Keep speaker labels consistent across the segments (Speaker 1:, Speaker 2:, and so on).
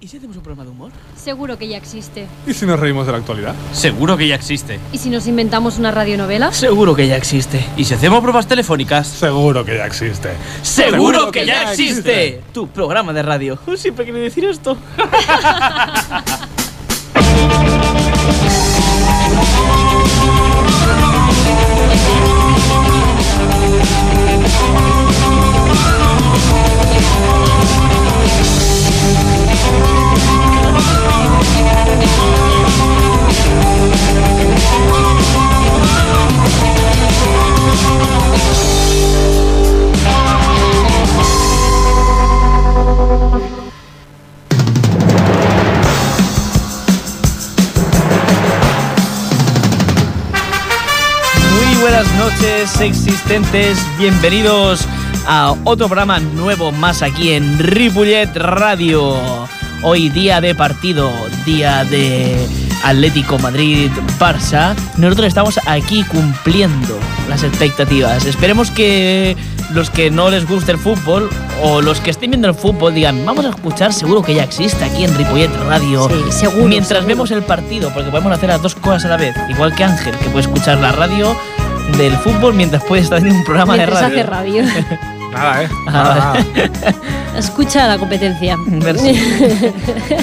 Speaker 1: ¿Y si hacemos un programa de humor?
Speaker 2: Seguro que ya existe.
Speaker 3: ¿Y si nos reímos de la actualidad?
Speaker 4: Seguro que ya existe.
Speaker 2: ¿Y si nos inventamos una radionovela?
Speaker 1: Seguro que ya existe.
Speaker 4: ¿Y si hacemos pruebas telefónicas?
Speaker 3: Seguro que ya existe.
Speaker 4: ¡Seguro que ya existe!
Speaker 1: Tu programa de radio. Siempre quería decir esto. Muy buenas noches, existentes. Bienvenidos a otro programa nuevo más aquí en Ripollet Radio. Hoy día de partido, día de Atlético Madrid-Barça. Nosotros estamos aquí cumpliendo las expectativas. Esperemos que los que no les guste el fútbol o los que estén viendo el fútbol digan, vamos a escuchar, seguro que ya existe aquí en Ripollet Radio.
Speaker 2: Sí, seguro,
Speaker 1: Mientras
Speaker 2: seguro.
Speaker 1: vemos el partido, porque podemos hacer las dos cosas a la vez. Igual que Ángel, que puede escuchar la radio del fútbol mientras puede estar en un programa
Speaker 2: Mientras
Speaker 1: de
Speaker 2: hace
Speaker 1: radio.
Speaker 2: radio.
Speaker 3: Nada, ¿eh?
Speaker 1: Ah,
Speaker 3: Nada, nada.
Speaker 2: Escucha la competencia.
Speaker 1: Merci.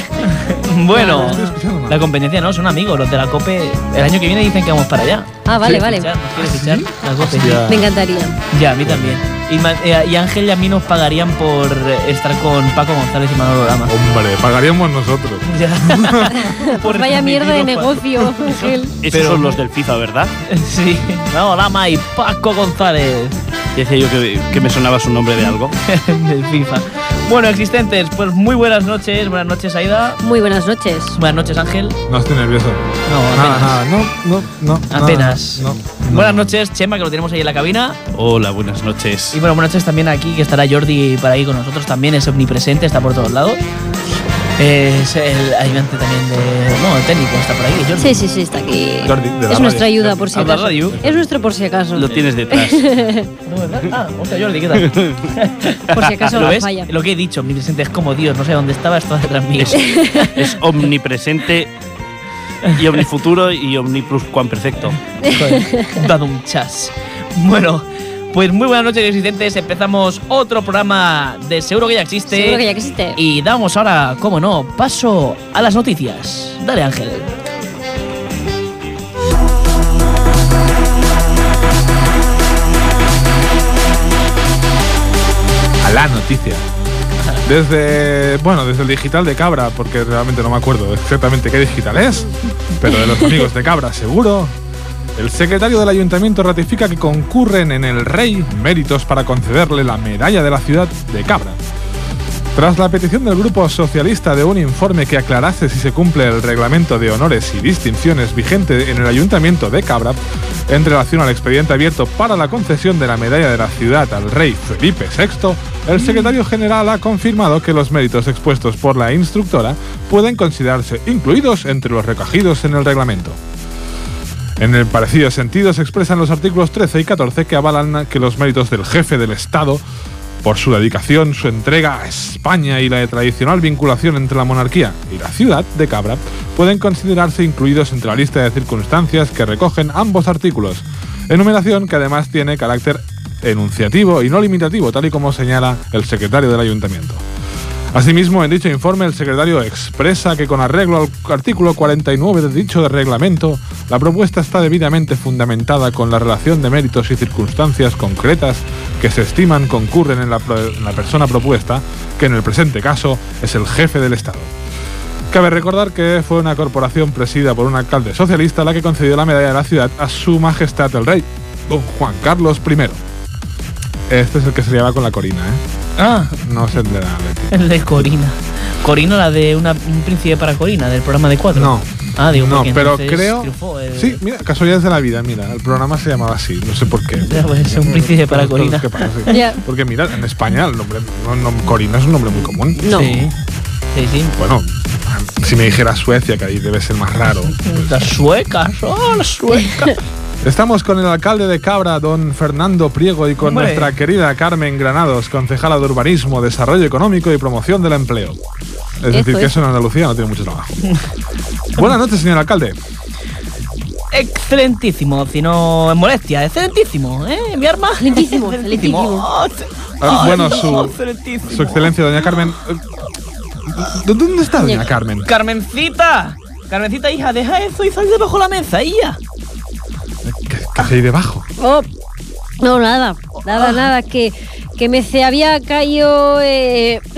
Speaker 1: bueno,
Speaker 3: No, no estoy escuchando nada.
Speaker 1: la competencia no, son amigos, los de la COPE. El año que viene dicen que vamos para allá.
Speaker 2: Ah, vale, vale.
Speaker 1: Fichar, ¿Nos quieres fichar? La COPE.
Speaker 3: Hostia.
Speaker 2: Me encantaría.
Speaker 1: Ya, a mí también. Y, Ma- eh, y Ángel y a mí nos pagarían por eh, estar con Paco González y Manolo Lama.
Speaker 3: Hombre, pagaríamos nosotros.
Speaker 1: Ya. Por
Speaker 2: Pues Vaya mierda de
Speaker 1: metido Paco.
Speaker 2: negocio, Ángel.
Speaker 4: Esos
Speaker 1: Pero-
Speaker 4: son los del FIFA, ¿verdad?
Speaker 1: Sí, Manolo Lama y Paco González.
Speaker 4: Decía yo que, que me sonaba su nombre de algo.
Speaker 1: del FIFA. Bueno, existentes, pues muy buenas noches. Buenas noches, Aida.
Speaker 2: Muy buenas noches.
Speaker 1: Buenas noches, Ángel.
Speaker 3: No estoy nervioso.
Speaker 1: No,
Speaker 3: Nada,
Speaker 1: apenas.
Speaker 3: nada. No, no, no. nada,
Speaker 1: Apenas.
Speaker 3: No, no.
Speaker 1: Buenas noches, Chema, que lo tenemos ahí en la cabina.
Speaker 4: Hola, buenas noches.
Speaker 1: Y bueno, buenas noches también aquí, que estará Jordi para ahí con nosotros también, es omnipresente, está por todos lados. Es el ayudante también de. No, el técnico está por ahí, Jordi.
Speaker 2: Sí, sí, sí, está aquí.
Speaker 3: Jordi, de la
Speaker 2: Es nuestra
Speaker 3: radio.
Speaker 2: ayuda por si
Speaker 1: Ah, de la
Speaker 2: acaso.
Speaker 1: radio.
Speaker 2: Es nuestro por si acaso.
Speaker 4: Lo tienes detrás.
Speaker 1: No, ¿verdad? Ah, hostia, Jordi, ¿qué tal?
Speaker 2: Por si acaso
Speaker 1: ¿Lo
Speaker 2: la
Speaker 1: ves?
Speaker 2: falla.
Speaker 1: Lo que he dicho, omnipresente, es como Dios, no sé dónde estaba, estaba detrás mío.
Speaker 4: Es, es omnipresente y omnifuturo y omnipruscuamperfecto.
Speaker 1: Joder, dado un chas. Bueno, pues muy buenas noches, existentes. Empezamos otro programa de Seguro que ya existe.
Speaker 2: Seguro que ya existe.
Speaker 1: Y damos ahora, como no, paso a las noticias. Dale, Ángel.
Speaker 3: A la noticia. Desde, bueno, desde el digital de Cabra, porque realmente no me acuerdo exactamente qué digital es, pero de los amigos de Cabra, seguro. El secretario del ayuntamiento ratifica que concurren en el rey méritos para concederle la medalla de la ciudad de Cabra. Tras la petición del Grupo Socialista de un informe que aclarase si se cumple el reglamento de honores y distinciones vigente en el Ayuntamiento de Cabra, en relación al expediente abierto para la concesión de la medalla de la ciudad al rey Felipe VI, el secretario general ha confirmado que los méritos expuestos por la instructora pueden considerarse incluidos entre los recogidos en el reglamento. En el parecido sentido se expresan los artículos 13 y 14 que avalan que los méritos del jefe del Estado por su dedicación, su entrega a España y la tradicional vinculación entre la monarquía y la ciudad de Cabra pueden considerarse incluidos entre la lista de circunstancias que recogen ambos artículos, enumeración que además tiene carácter enunciativo y no limitativo, tal y como señala el secretario del ayuntamiento. Asimismo, en dicho informe, el secretario expresa que con arreglo al artículo 49 de dicho reglamento, la propuesta está debidamente fundamentada con la relación de méritos y circunstancias concretas que se estiman concurren en la, pro- en la persona propuesta, que en el presente caso es el jefe del Estado. Cabe recordar que fue una corporación presidida por un alcalde socialista la que concedió la medalla de la ciudad a su majestad el rey, don Juan Carlos I. Este es el que se lleva con la corina, ¿eh?
Speaker 1: Ah,
Speaker 3: No se entera, Leti.
Speaker 1: el de Corina. Corina, la de una- un príncipe para Corina, del programa de cuatro.
Speaker 3: No.
Speaker 1: Ah, digo,
Speaker 3: No,
Speaker 1: porque
Speaker 3: pero
Speaker 1: entonces
Speaker 3: creo.
Speaker 1: triunfó el-
Speaker 3: Sí, mira, casualidades de la vida, mira, el programa se llamaba así, no sé por qué.
Speaker 1: Ya, pues, un príncipe para
Speaker 3: Pero es
Speaker 1: Corina.
Speaker 3: que pasa, sí.
Speaker 2: Ya.
Speaker 3: Porque mira, en España el nombre no, no, Corina es un nombre muy común.
Speaker 2: No.
Speaker 1: Sí, sí. sí.
Speaker 3: Bueno, si me dijera Suecia, que ahí debe ser más raro.
Speaker 1: Las suecas, oh, las suecas.
Speaker 3: Estamos con el alcalde de Cabra, don Fernando Priego, y con
Speaker 1: Hombre.
Speaker 3: nuestra querida Carmen Granados, concejala de Urbanismo, Desarrollo Económico y Promoción del Empleo. Es
Speaker 2: Eso
Speaker 3: decir, que
Speaker 2: es.
Speaker 3: eso en Andalucía no tiene mucho trabajo. Buenas noches, señor alcalde.
Speaker 1: Excelentísimo, si no es molestia, excelentísimo, ¿eh? Mi arma.
Speaker 2: Excelentísimo, excelentísimo.
Speaker 1: Oh, excel-
Speaker 3: Ah,
Speaker 1: Ay,
Speaker 3: bueno,
Speaker 1: no,
Speaker 3: su-
Speaker 1: excelentísimo.
Speaker 3: Su excelencia, doña Carmen. eh, ¿dó- ¿Dónde está doña
Speaker 2: Llega.
Speaker 3: Carmen?
Speaker 1: Carmencita, Carmencita, hija, deja eso y sal debajo de la mesa, hija.
Speaker 3: Que, que hay debajo.
Speaker 2: Oh, no, nada, nada, nada, que, que me se había caído eh,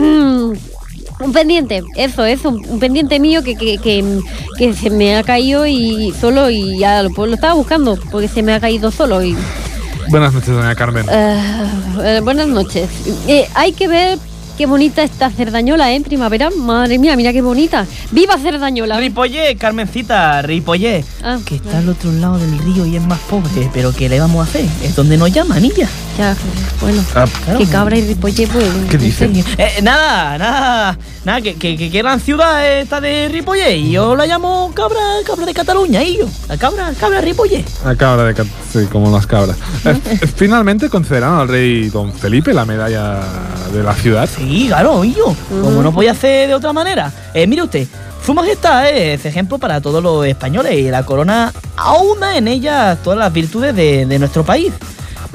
Speaker 2: un pendiente, eso, eso, un, un pendiente mío que, que, que- que se me ha caído y solo y ya lo, pues lo estaba buscando porque se me ha caído solo y...
Speaker 3: Buenas noches, doña Carmen.
Speaker 2: eh, eh, buenas noches. Eh, hay que ver qué bonita está Cerdañola, ¿eh? En primavera, madre mía, mira qué bonita. ¡Viva Cerdañola!
Speaker 1: Ripollé, Carmencita, Ripollé.
Speaker 2: Ah,
Speaker 1: que está al otro lado del río y es más pobre, pero ¿qué le vamos a hacer? Es donde nos llaman, hija.
Speaker 2: Ya, bueno,
Speaker 3: Ah,
Speaker 1: claro.
Speaker 2: que cabra y ripolle, pues...
Speaker 3: ¿Qué dice?
Speaker 1: Eh, nada, nada, nada, que, que, que gran ciudad es esta de Ripollé y yo la llamo cabra, cabra de Cataluña, y yo, la cabra, cabra Ripollé.
Speaker 3: La cabra de cat- sí, como las cabras. Eh, eh, Finalmente concederán al rey don Felipe la medalla de la ciudad.
Speaker 1: Sí, claro, y yo, como no podía hacer de otra manera. Eh, mire usted, su majestad es ejemplo para todos los españoles y la corona aúna en ella todas las virtudes de, de nuestro país.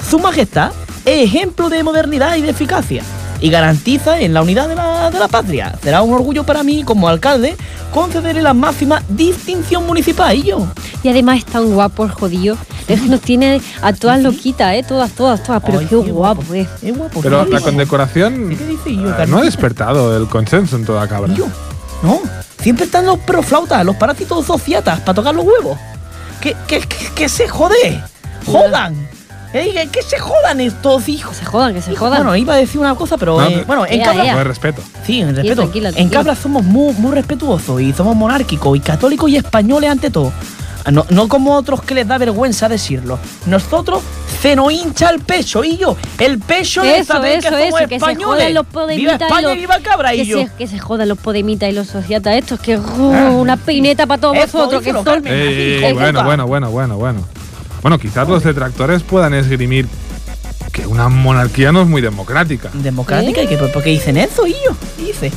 Speaker 1: Su majestad es ejemplo de modernidad y de eficacia y garantiza en la unidad de la, de la patria. Será un orgullo para mí como alcalde concederle la máxima distinción municipal y yo.
Speaker 2: Y además es tan guapo el jodido. Es que nos tiene a todas loquitas, ¿eh? Todas, todas, todas. Pero
Speaker 1: Ay,
Speaker 2: qué guapo, eh. es.
Speaker 1: Es guapo.
Speaker 3: Pero
Speaker 1: sí,
Speaker 3: la
Speaker 1: sí.
Speaker 3: condecoración
Speaker 1: ¿Qué dice yo,
Speaker 3: eh, no
Speaker 1: Carmen?
Speaker 3: ha despertado el consenso en toda cabra.
Speaker 1: Yo, no. Siempre están los proflautas, los parásitos sociatas para tocar los huevos. Que, que, que, que se jode. Jodan. Eh, Que, que se jodan estos hijos.
Speaker 2: Se jodan, que se
Speaker 1: Hijos,
Speaker 2: jodan.
Speaker 1: Bueno, iba a decir una cosa, pero
Speaker 3: No,
Speaker 1: eh,
Speaker 3: pero-
Speaker 1: bueno, en
Speaker 2: Ea,
Speaker 1: Cabra,
Speaker 2: ea.
Speaker 3: No hay respeto.
Speaker 1: sí, en respeto,
Speaker 2: tranquila,
Speaker 1: en
Speaker 2: tranquila.
Speaker 1: Cabra somos muy, muy respetuosos y somos monárquicos y católicos y españoles ante todo. Ah, No, no como otros que les da vergüenza decirlo. Nosotros se nos hincha el pecho, y yo. El pecho de
Speaker 2: Eso,
Speaker 1: saber
Speaker 2: eso,
Speaker 1: que somos
Speaker 2: eso, que se
Speaker 1: españoles.
Speaker 2: jodan
Speaker 1: viva
Speaker 2: los podemitas
Speaker 1: España
Speaker 2: y los...
Speaker 1: y viva Cabra,
Speaker 2: que,
Speaker 1: y yo. Ah.
Speaker 2: se, que se jodan los podemitas y los sociatas estos, que uh, una peineta para todos
Speaker 1: Eso,
Speaker 2: vosotros, que
Speaker 1: díselo,
Speaker 2: son... eh,
Speaker 1: Carmen. Venga,
Speaker 3: Ey, ey,
Speaker 1: hijo,
Speaker 3: ey, Eh, bueno,
Speaker 1: ocupa.
Speaker 3: bueno, bueno, bueno, bueno. Bueno, quizás los detractores puedan esgrimir que una monarquía no es muy democrática.
Speaker 1: democrática y que por por qué dicen eso y yo dice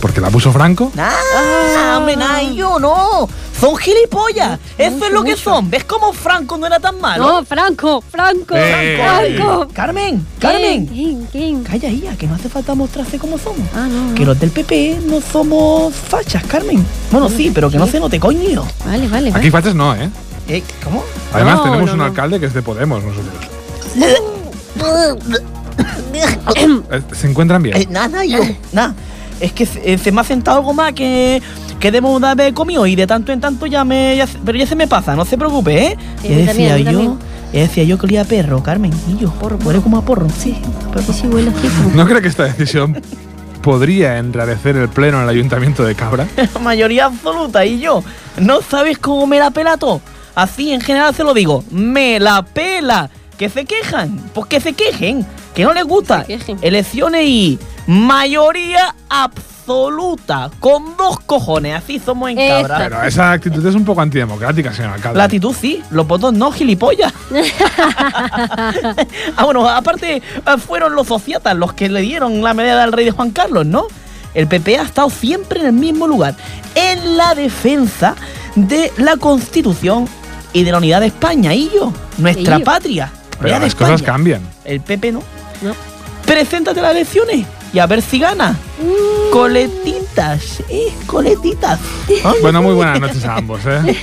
Speaker 3: Porque el abuso franco.
Speaker 1: ah hombre nada y yo no son gilipollas eso es lo que son ves cómo Franco no era tan malo
Speaker 2: No, Franco, Franco,
Speaker 3: Eh,
Speaker 2: Franco.
Speaker 1: Carmen Carmen
Speaker 2: ¿Quién? ¿Quién?
Speaker 1: calla ya que no hace falta mostrarse como somos
Speaker 2: Ah, no.
Speaker 1: que los del PP no somos fachas Carmen bueno sí pero que no se note coño
Speaker 2: Vale, vale, vale.
Speaker 3: Aquí faches no, ¿eh?
Speaker 1: eh, cómo
Speaker 3: Además
Speaker 2: No,
Speaker 3: tenemos
Speaker 2: no,
Speaker 3: un
Speaker 2: no.
Speaker 3: alcalde que es de Podemos nosotros. Eh, ¿Se encuentran bien?
Speaker 1: Eh, nada yo nada es que se, eh, se me ha sentado algo más que que debo de haber comido y de tanto en tanto ya me ya se- pero ya se me pasa no se preocupe eh
Speaker 2: Sí,
Speaker 1: Ya
Speaker 2: a mí
Speaker 1: decía
Speaker 2: también, a mí
Speaker 1: yo
Speaker 2: también.
Speaker 1: ya decía yo que olía a perro Carmen y yo porro huele como a porro sí pero-
Speaker 2: Sí, sí, huele así como-
Speaker 3: ¿No cree que esta decisión podría enrarecer el pleno en el ayuntamiento de Cabra?
Speaker 1: mayoría absoluta y yo no sabes cómo me la pela todo así en general se lo digo me la pela que se quejan pues que se quejen que no les gusta
Speaker 2: Se quejen.
Speaker 1: elecciones y mayoría absoluta con dos cojones así somos en
Speaker 2: Esta.
Speaker 1: cabra
Speaker 3: Pero esa actitud es un poco antidemocrática, señor alcalde.
Speaker 1: La actitud sí, los votos no, gilipollas. ah, bueno, aparte eh, fueron los sociatas los que le dieron la medalla al rey de Juan Carlos, ¿no? El PP ha estado siempre en el mismo lugar, en la defensa de la Constitución y de la unidad de España, y yo, nuestra
Speaker 2: Illo.
Speaker 1: patria.
Speaker 3: Pero
Speaker 1: unidad de
Speaker 3: las cosas
Speaker 1: España.
Speaker 3: cambian.
Speaker 1: El PP no.
Speaker 2: No.
Speaker 1: Preséntate a las elecciones y a ver si gana.
Speaker 3: Mm.
Speaker 1: Coletitas, eh, coletitas.
Speaker 3: Ah, Bueno, muy buenas noches a ambos, ¿eh?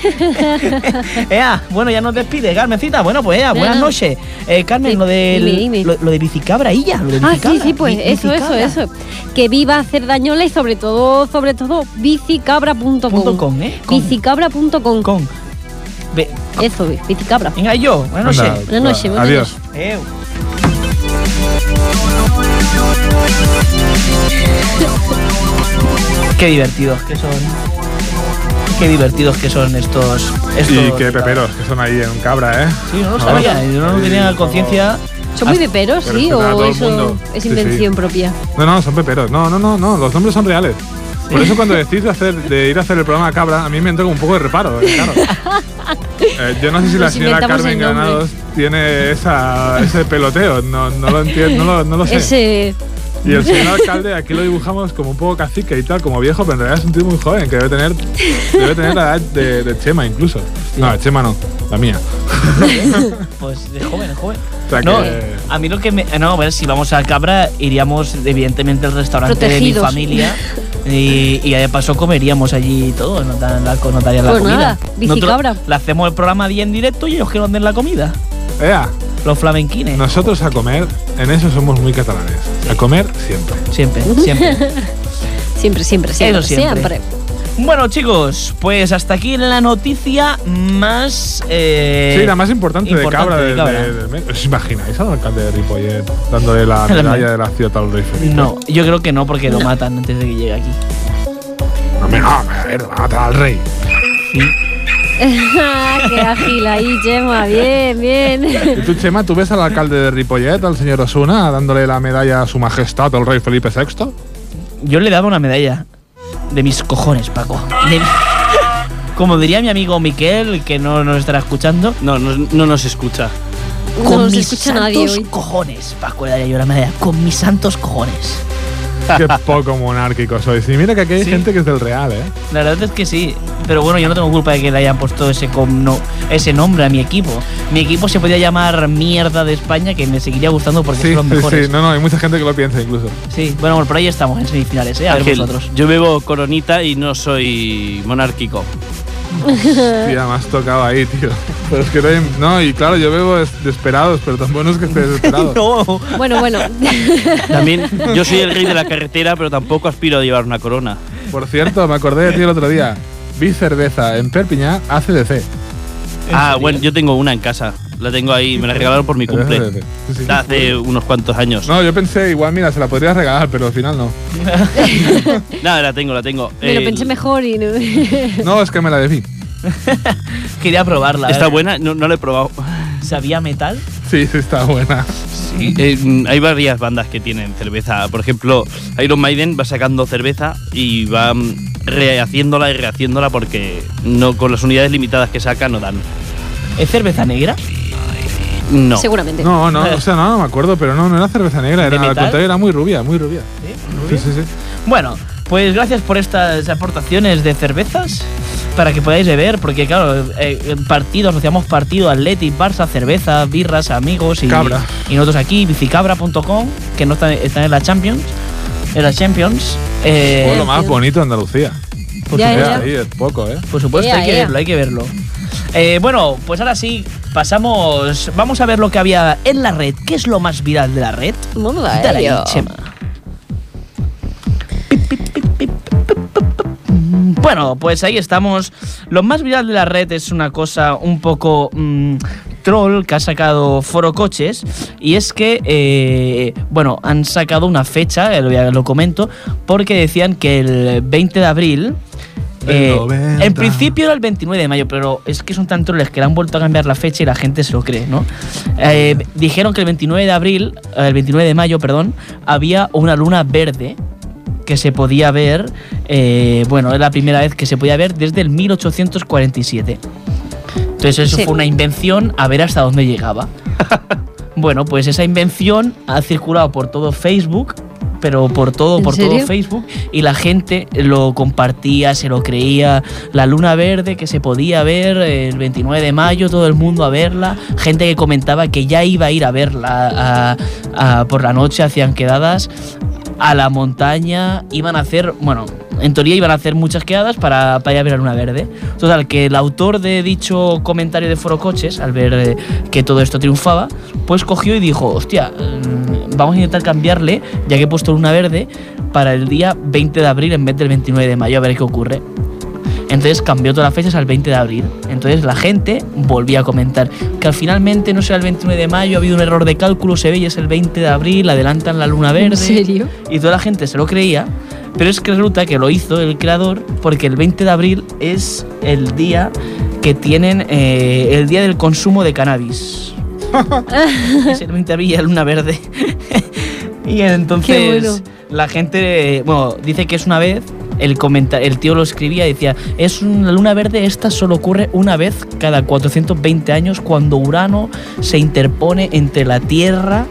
Speaker 1: Ea, bueno, ya nos despide, Carmencita. Bueno, pues ea, buenas
Speaker 2: Nada.
Speaker 1: noches. Eh, Carmen,
Speaker 2: Sí,
Speaker 1: lo del-
Speaker 2: dime, dime.
Speaker 1: Lo, lo de bicicabra, ella, lo de
Speaker 2: Ah,
Speaker 1: bicicabra.
Speaker 2: sí, sí, pues
Speaker 1: bi-
Speaker 2: eso, eso,
Speaker 1: bicicabra.
Speaker 2: eso. Que viva Cerdañola y sobre todo, sobre todo,
Speaker 1: Punto
Speaker 2: bicicabra.com.
Speaker 1: com, ¿eh? Con-
Speaker 2: Bicicabra.com.
Speaker 1: Con. Ve-
Speaker 2: Eso, bicicabra.
Speaker 1: venga, yo, buenas
Speaker 3: Anda,
Speaker 1: noches.
Speaker 2: Buenas noches, buenas
Speaker 3: Adiós.
Speaker 1: Eu. Qué divertidos que son. Qué divertidos que son estos. estos
Speaker 3: Y qué peperos que son ahí en Cabra, ¿eh?
Speaker 1: Sí, yo no lo sabía, yo no
Speaker 3: Sí,
Speaker 1: tenía
Speaker 3: no.
Speaker 1: conciencia.
Speaker 2: Son
Speaker 1: Ah,
Speaker 2: muy peperos,
Speaker 3: Pero
Speaker 2: sí,
Speaker 3: eso da a todo
Speaker 2: o
Speaker 3: el
Speaker 2: eso
Speaker 3: mundo.
Speaker 2: es
Speaker 3: Sí,
Speaker 2: invención propia.
Speaker 3: No, no, son peperos. No, no, no, no. Los nombres son reales. Por eso cuando decís de, hacer, de ir a hacer el programa a Cabra, a mí me entra como un poco de reparo, eh, claro. Eh, yo no sé si la
Speaker 2: Nos
Speaker 3: señora
Speaker 2: inventamos
Speaker 3: Carmen
Speaker 2: el nombre.
Speaker 3: Granados tiene esa, ese peloteo. No, no lo entiendo, no lo, no lo sé.
Speaker 2: Ese,
Speaker 3: Y el señor alcalde, aquí lo dibujamos como un poco cacique y tal, como viejo, pero en realidad es un tío muy joven, que debe tener, debe tener la edad de, de Chema incluso. No, de Chema no, la mía.
Speaker 1: Pues de joven, de joven.
Speaker 3: O sea
Speaker 1: No,
Speaker 3: que- eh,
Speaker 1: a mí lo que me. eh, No, a ver, si vamos a Cabra, iríamos evidentemente al restaurante
Speaker 2: Protegidos.
Speaker 1: de mi familia. Y, y de paso comeríamos allí y todo, nos dan la, nos darían la
Speaker 2: Pues
Speaker 1: comida.
Speaker 2: nada,
Speaker 1: Nosotros
Speaker 2: bicicabra.
Speaker 1: Le hacemos el programa día en directo y ellos que nos den la comida.
Speaker 3: Ea,
Speaker 1: Los
Speaker 2: Eh.
Speaker 1: flamenquines.
Speaker 3: nosotros a comer, en eso somos muy catalanes. A comer siempre.
Speaker 1: Siempre, siempre.
Speaker 2: Siempre, siempre, siempre.
Speaker 1: Eso siempre. Bueno, chicos, pues hasta aquí la noticia más. eh,
Speaker 3: sí, la más importante,
Speaker 1: importante
Speaker 3: de
Speaker 1: de
Speaker 3: Cabra. del-
Speaker 1: Cabra.
Speaker 3: del- del mes. ¿Os imagináis al alcalde de Ripollet dándole la
Speaker 1: El
Speaker 3: medalla
Speaker 1: mes.
Speaker 3: de la ciudad al rey Felipe?
Speaker 1: No, yo creo que no, porque lo matan antes de que llegue aquí.
Speaker 3: No, hombre, no, a ver, va a matar al rey.
Speaker 2: Ah, Qué ágil ahí, Chema. Bien, bien.
Speaker 3: ¿Y tú, Chema, tú ves al alcalde de Ripollet, al señor Osuna, dándole la medalla a su majestad, al rey Felipe VI?
Speaker 1: Yo le daba una medalla. De mis cojones, Paco. De mi- Como diría mi amigo Miquel, que no nos estará escuchando.
Speaker 4: No, no, no nos escucha.
Speaker 2: No
Speaker 1: con
Speaker 2: nos
Speaker 1: mis
Speaker 2: escucha
Speaker 1: santos
Speaker 2: nadie hoy.
Speaker 1: cojones, Paco, le daría yo una medalla. Con mis santos cojones.
Speaker 3: Qué poco monárquico sois. Y mira que aquí hay
Speaker 1: Sí.
Speaker 3: gente que es del Real, ¿eh?
Speaker 1: La verdad es que sí. Pero bueno, yo no tengo culpa de que le hayan puesto ese, com- no- ese nombre a mi equipo. Mi equipo se podía llamar Mierda de España, que me seguiría gustando porque
Speaker 3: Sí,
Speaker 1: Pues son los
Speaker 3: sí,
Speaker 1: mejores.
Speaker 3: sí. No, no, hay mucha gente que lo piensa incluso.
Speaker 1: Sí, bueno, bueno, por ahí estamos en semifinales, ¿eh? A ver
Speaker 4: Ángel,
Speaker 1: vosotros.
Speaker 4: yo bebo coronita y no soy monárquico.
Speaker 3: Tía, me has tocado ahí, tío. Pero es que no, hay- no, y claro, yo veo es- desesperados, pero tampoco no es que esté desesperado.
Speaker 1: No.
Speaker 2: Bueno, bueno.
Speaker 4: También yo soy el rey de la carretera, pero tampoco aspiro a llevar una corona.
Speaker 3: Por cierto, me acordé de ti el otro día. Vi cerveza en Perpiñán ACDC.
Speaker 4: Ah, bueno, yo tengo una en casa. La tengo ahí, me la regalaron por mi cumple.
Speaker 3: Sí, sí.
Speaker 4: Hace unos cuantos años.
Speaker 3: No, yo pensé, igual, mira, se la podrías regalar, pero al final no.
Speaker 4: Nada, la tengo, la tengo.
Speaker 2: Me lo
Speaker 4: Eh,
Speaker 2: pensé mejor y no.
Speaker 3: No, es que me la debí.
Speaker 1: Quería probarla. a
Speaker 4: Está
Speaker 1: ver.
Speaker 4: buena, no, no la he probado.
Speaker 1: ¿Sabía metal?
Speaker 3: Sí, sí, está buena.
Speaker 1: Sí.
Speaker 4: Eh, mm, hay varias bandas que tienen cerveza. Por ejemplo, Iron Maiden va sacando cerveza y va mm, rehaciéndola y rehaciéndola porque no con las unidades limitadas que saca no dan.
Speaker 1: ¿Es cerveza negra?
Speaker 4: No.
Speaker 2: Seguramente.
Speaker 3: No, no, o sea, no, no me acuerdo, pero no, no era cerveza negra,
Speaker 1: ¿De
Speaker 3: era al
Speaker 1: metal?
Speaker 3: contrario, era muy rubia, muy rubia.
Speaker 1: ¿Sí?
Speaker 3: Sí, sí, sí.
Speaker 1: Bueno, pues gracias por estas aportaciones de cervezas para que podáis beber, porque claro, eh, partido, asociamos partido, Atleti, Barça, cerveza, birras, amigos y,
Speaker 3: Cabra.
Speaker 1: y nosotros aquí, bicicabra.com, que no están, están en la Champions, en la Champions. eh,
Speaker 3: Fue lo más bonito de Andalucía.
Speaker 1: por,
Speaker 2: Ya,
Speaker 1: supuesto,
Speaker 3: Mira,
Speaker 2: ya.
Speaker 3: ahí es poco, ¿eh?
Speaker 1: por supuesto,
Speaker 2: Ea,
Speaker 1: hay que
Speaker 2: ea.
Speaker 1: verlo, hay que verlo. Eh, bueno, pues ahora sí, pasamos, vamos a ver lo que había en la red, qué es lo más viral de la red.
Speaker 2: Vamos a
Speaker 1: Dale ahí,
Speaker 2: ello.
Speaker 1: Chema. Bueno, pues ahí estamos. Lo más viral de la red es una cosa un poco mm, troll que ha sacado Foro Coches. Y es que, eh, bueno, han sacado una fecha, eh, lo, voy a- lo comento, porque decían que el 20 de abril.
Speaker 3: Del 90.
Speaker 1: Eh, en principio era el 29 de mayo, pero es que son tan troles que le han vuelto a cambiar la fecha y la gente se lo cree, ¿no? Eh, dijeron que el 29 de abril, eh, el 29 de mayo, perdón, había una luna verde que se podía ver, eh, bueno, es la primera vez que se podía ver desde el 1847. Entonces eso
Speaker 2: Sí.
Speaker 1: fue una invención a ver hasta dónde llegaba. bueno, pues esa invención ha circulado por todo Facebook, pero por todo,
Speaker 2: ¿En
Speaker 1: por todo
Speaker 2: serio?
Speaker 1: Facebook, y la gente lo compartía, se lo creía. La luna verde que se podía ver el 29 de mayo, todo el mundo a verla. Gente que comentaba que ya iba a ir a verla a- a- por la noche, hacían quedadas a la montaña, iban a hacer, bueno, en teoría iban a hacer muchas quedadas para, para ir a ver la luna verde. Total, que el autor de dicho comentario de Foro Coches, al ver eh, que todo esto triunfaba, pues cogió y dijo, hostia, mm, vamos a intentar cambiarle, ya que he puesto luna verde, para el día 20 de abril en vez del 29 de mayo, a ver qué ocurre. Entonces cambió todas las fechas al 20 de abril. Entonces la gente volvía a comentar que al finalmente no será el 29 de mayo, ha habido un error de cálculo, se ve y es el 20 de abril, adelantan la luna verde
Speaker 2: ¿En serio?
Speaker 1: y toda la gente se lo creía, pero es que resulta que lo hizo el creador porque el 20 de abril es el día que tienen eh, el día del consumo de cannabis. es el 20 de abril y la luna verde. y entonces
Speaker 2: bueno.
Speaker 1: la gente, eh, bueno, dice que es una vez. El, comenta- el tío lo escribía y decía, es una luna verde, esta solo ocurre una vez cada 420 años cuando Urano se interpone entre la Tierra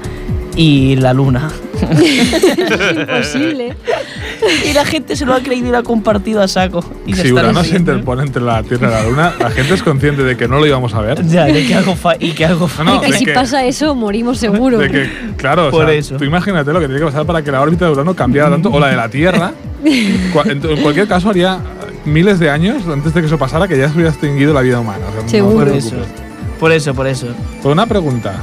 Speaker 1: y la Luna.
Speaker 2: es imposible.
Speaker 1: Y la gente se lo ha creído y lo ha compartido a saco. Y se
Speaker 3: Si
Speaker 1: están
Speaker 3: Urano se
Speaker 1: riendo.
Speaker 3: interpone entre la Tierra y la Luna, la gente es consciente de que no lo íbamos a ver.
Speaker 1: Ya, de que algo fa- y que algo fa-
Speaker 3: No, no,
Speaker 2: y que
Speaker 3: de
Speaker 2: si
Speaker 3: que-
Speaker 2: pasa eso, morimos seguro.
Speaker 3: De que, claro, o
Speaker 1: Por
Speaker 3: sea,
Speaker 1: eso.
Speaker 3: tú imagínate lo que tiene que pasar para que la órbita de Urano cambiara tanto, o la de la Tierra. Cua- En en cualquier caso, haría miles de años antes de que eso pasara que ya se hubiera extinguido la vida humana. O sea, no te
Speaker 2: Seguro.
Speaker 1: Por
Speaker 2: no te
Speaker 1: eso.
Speaker 3: preocupes.
Speaker 1: Por eso, por eso.
Speaker 3: Pero una pregunta.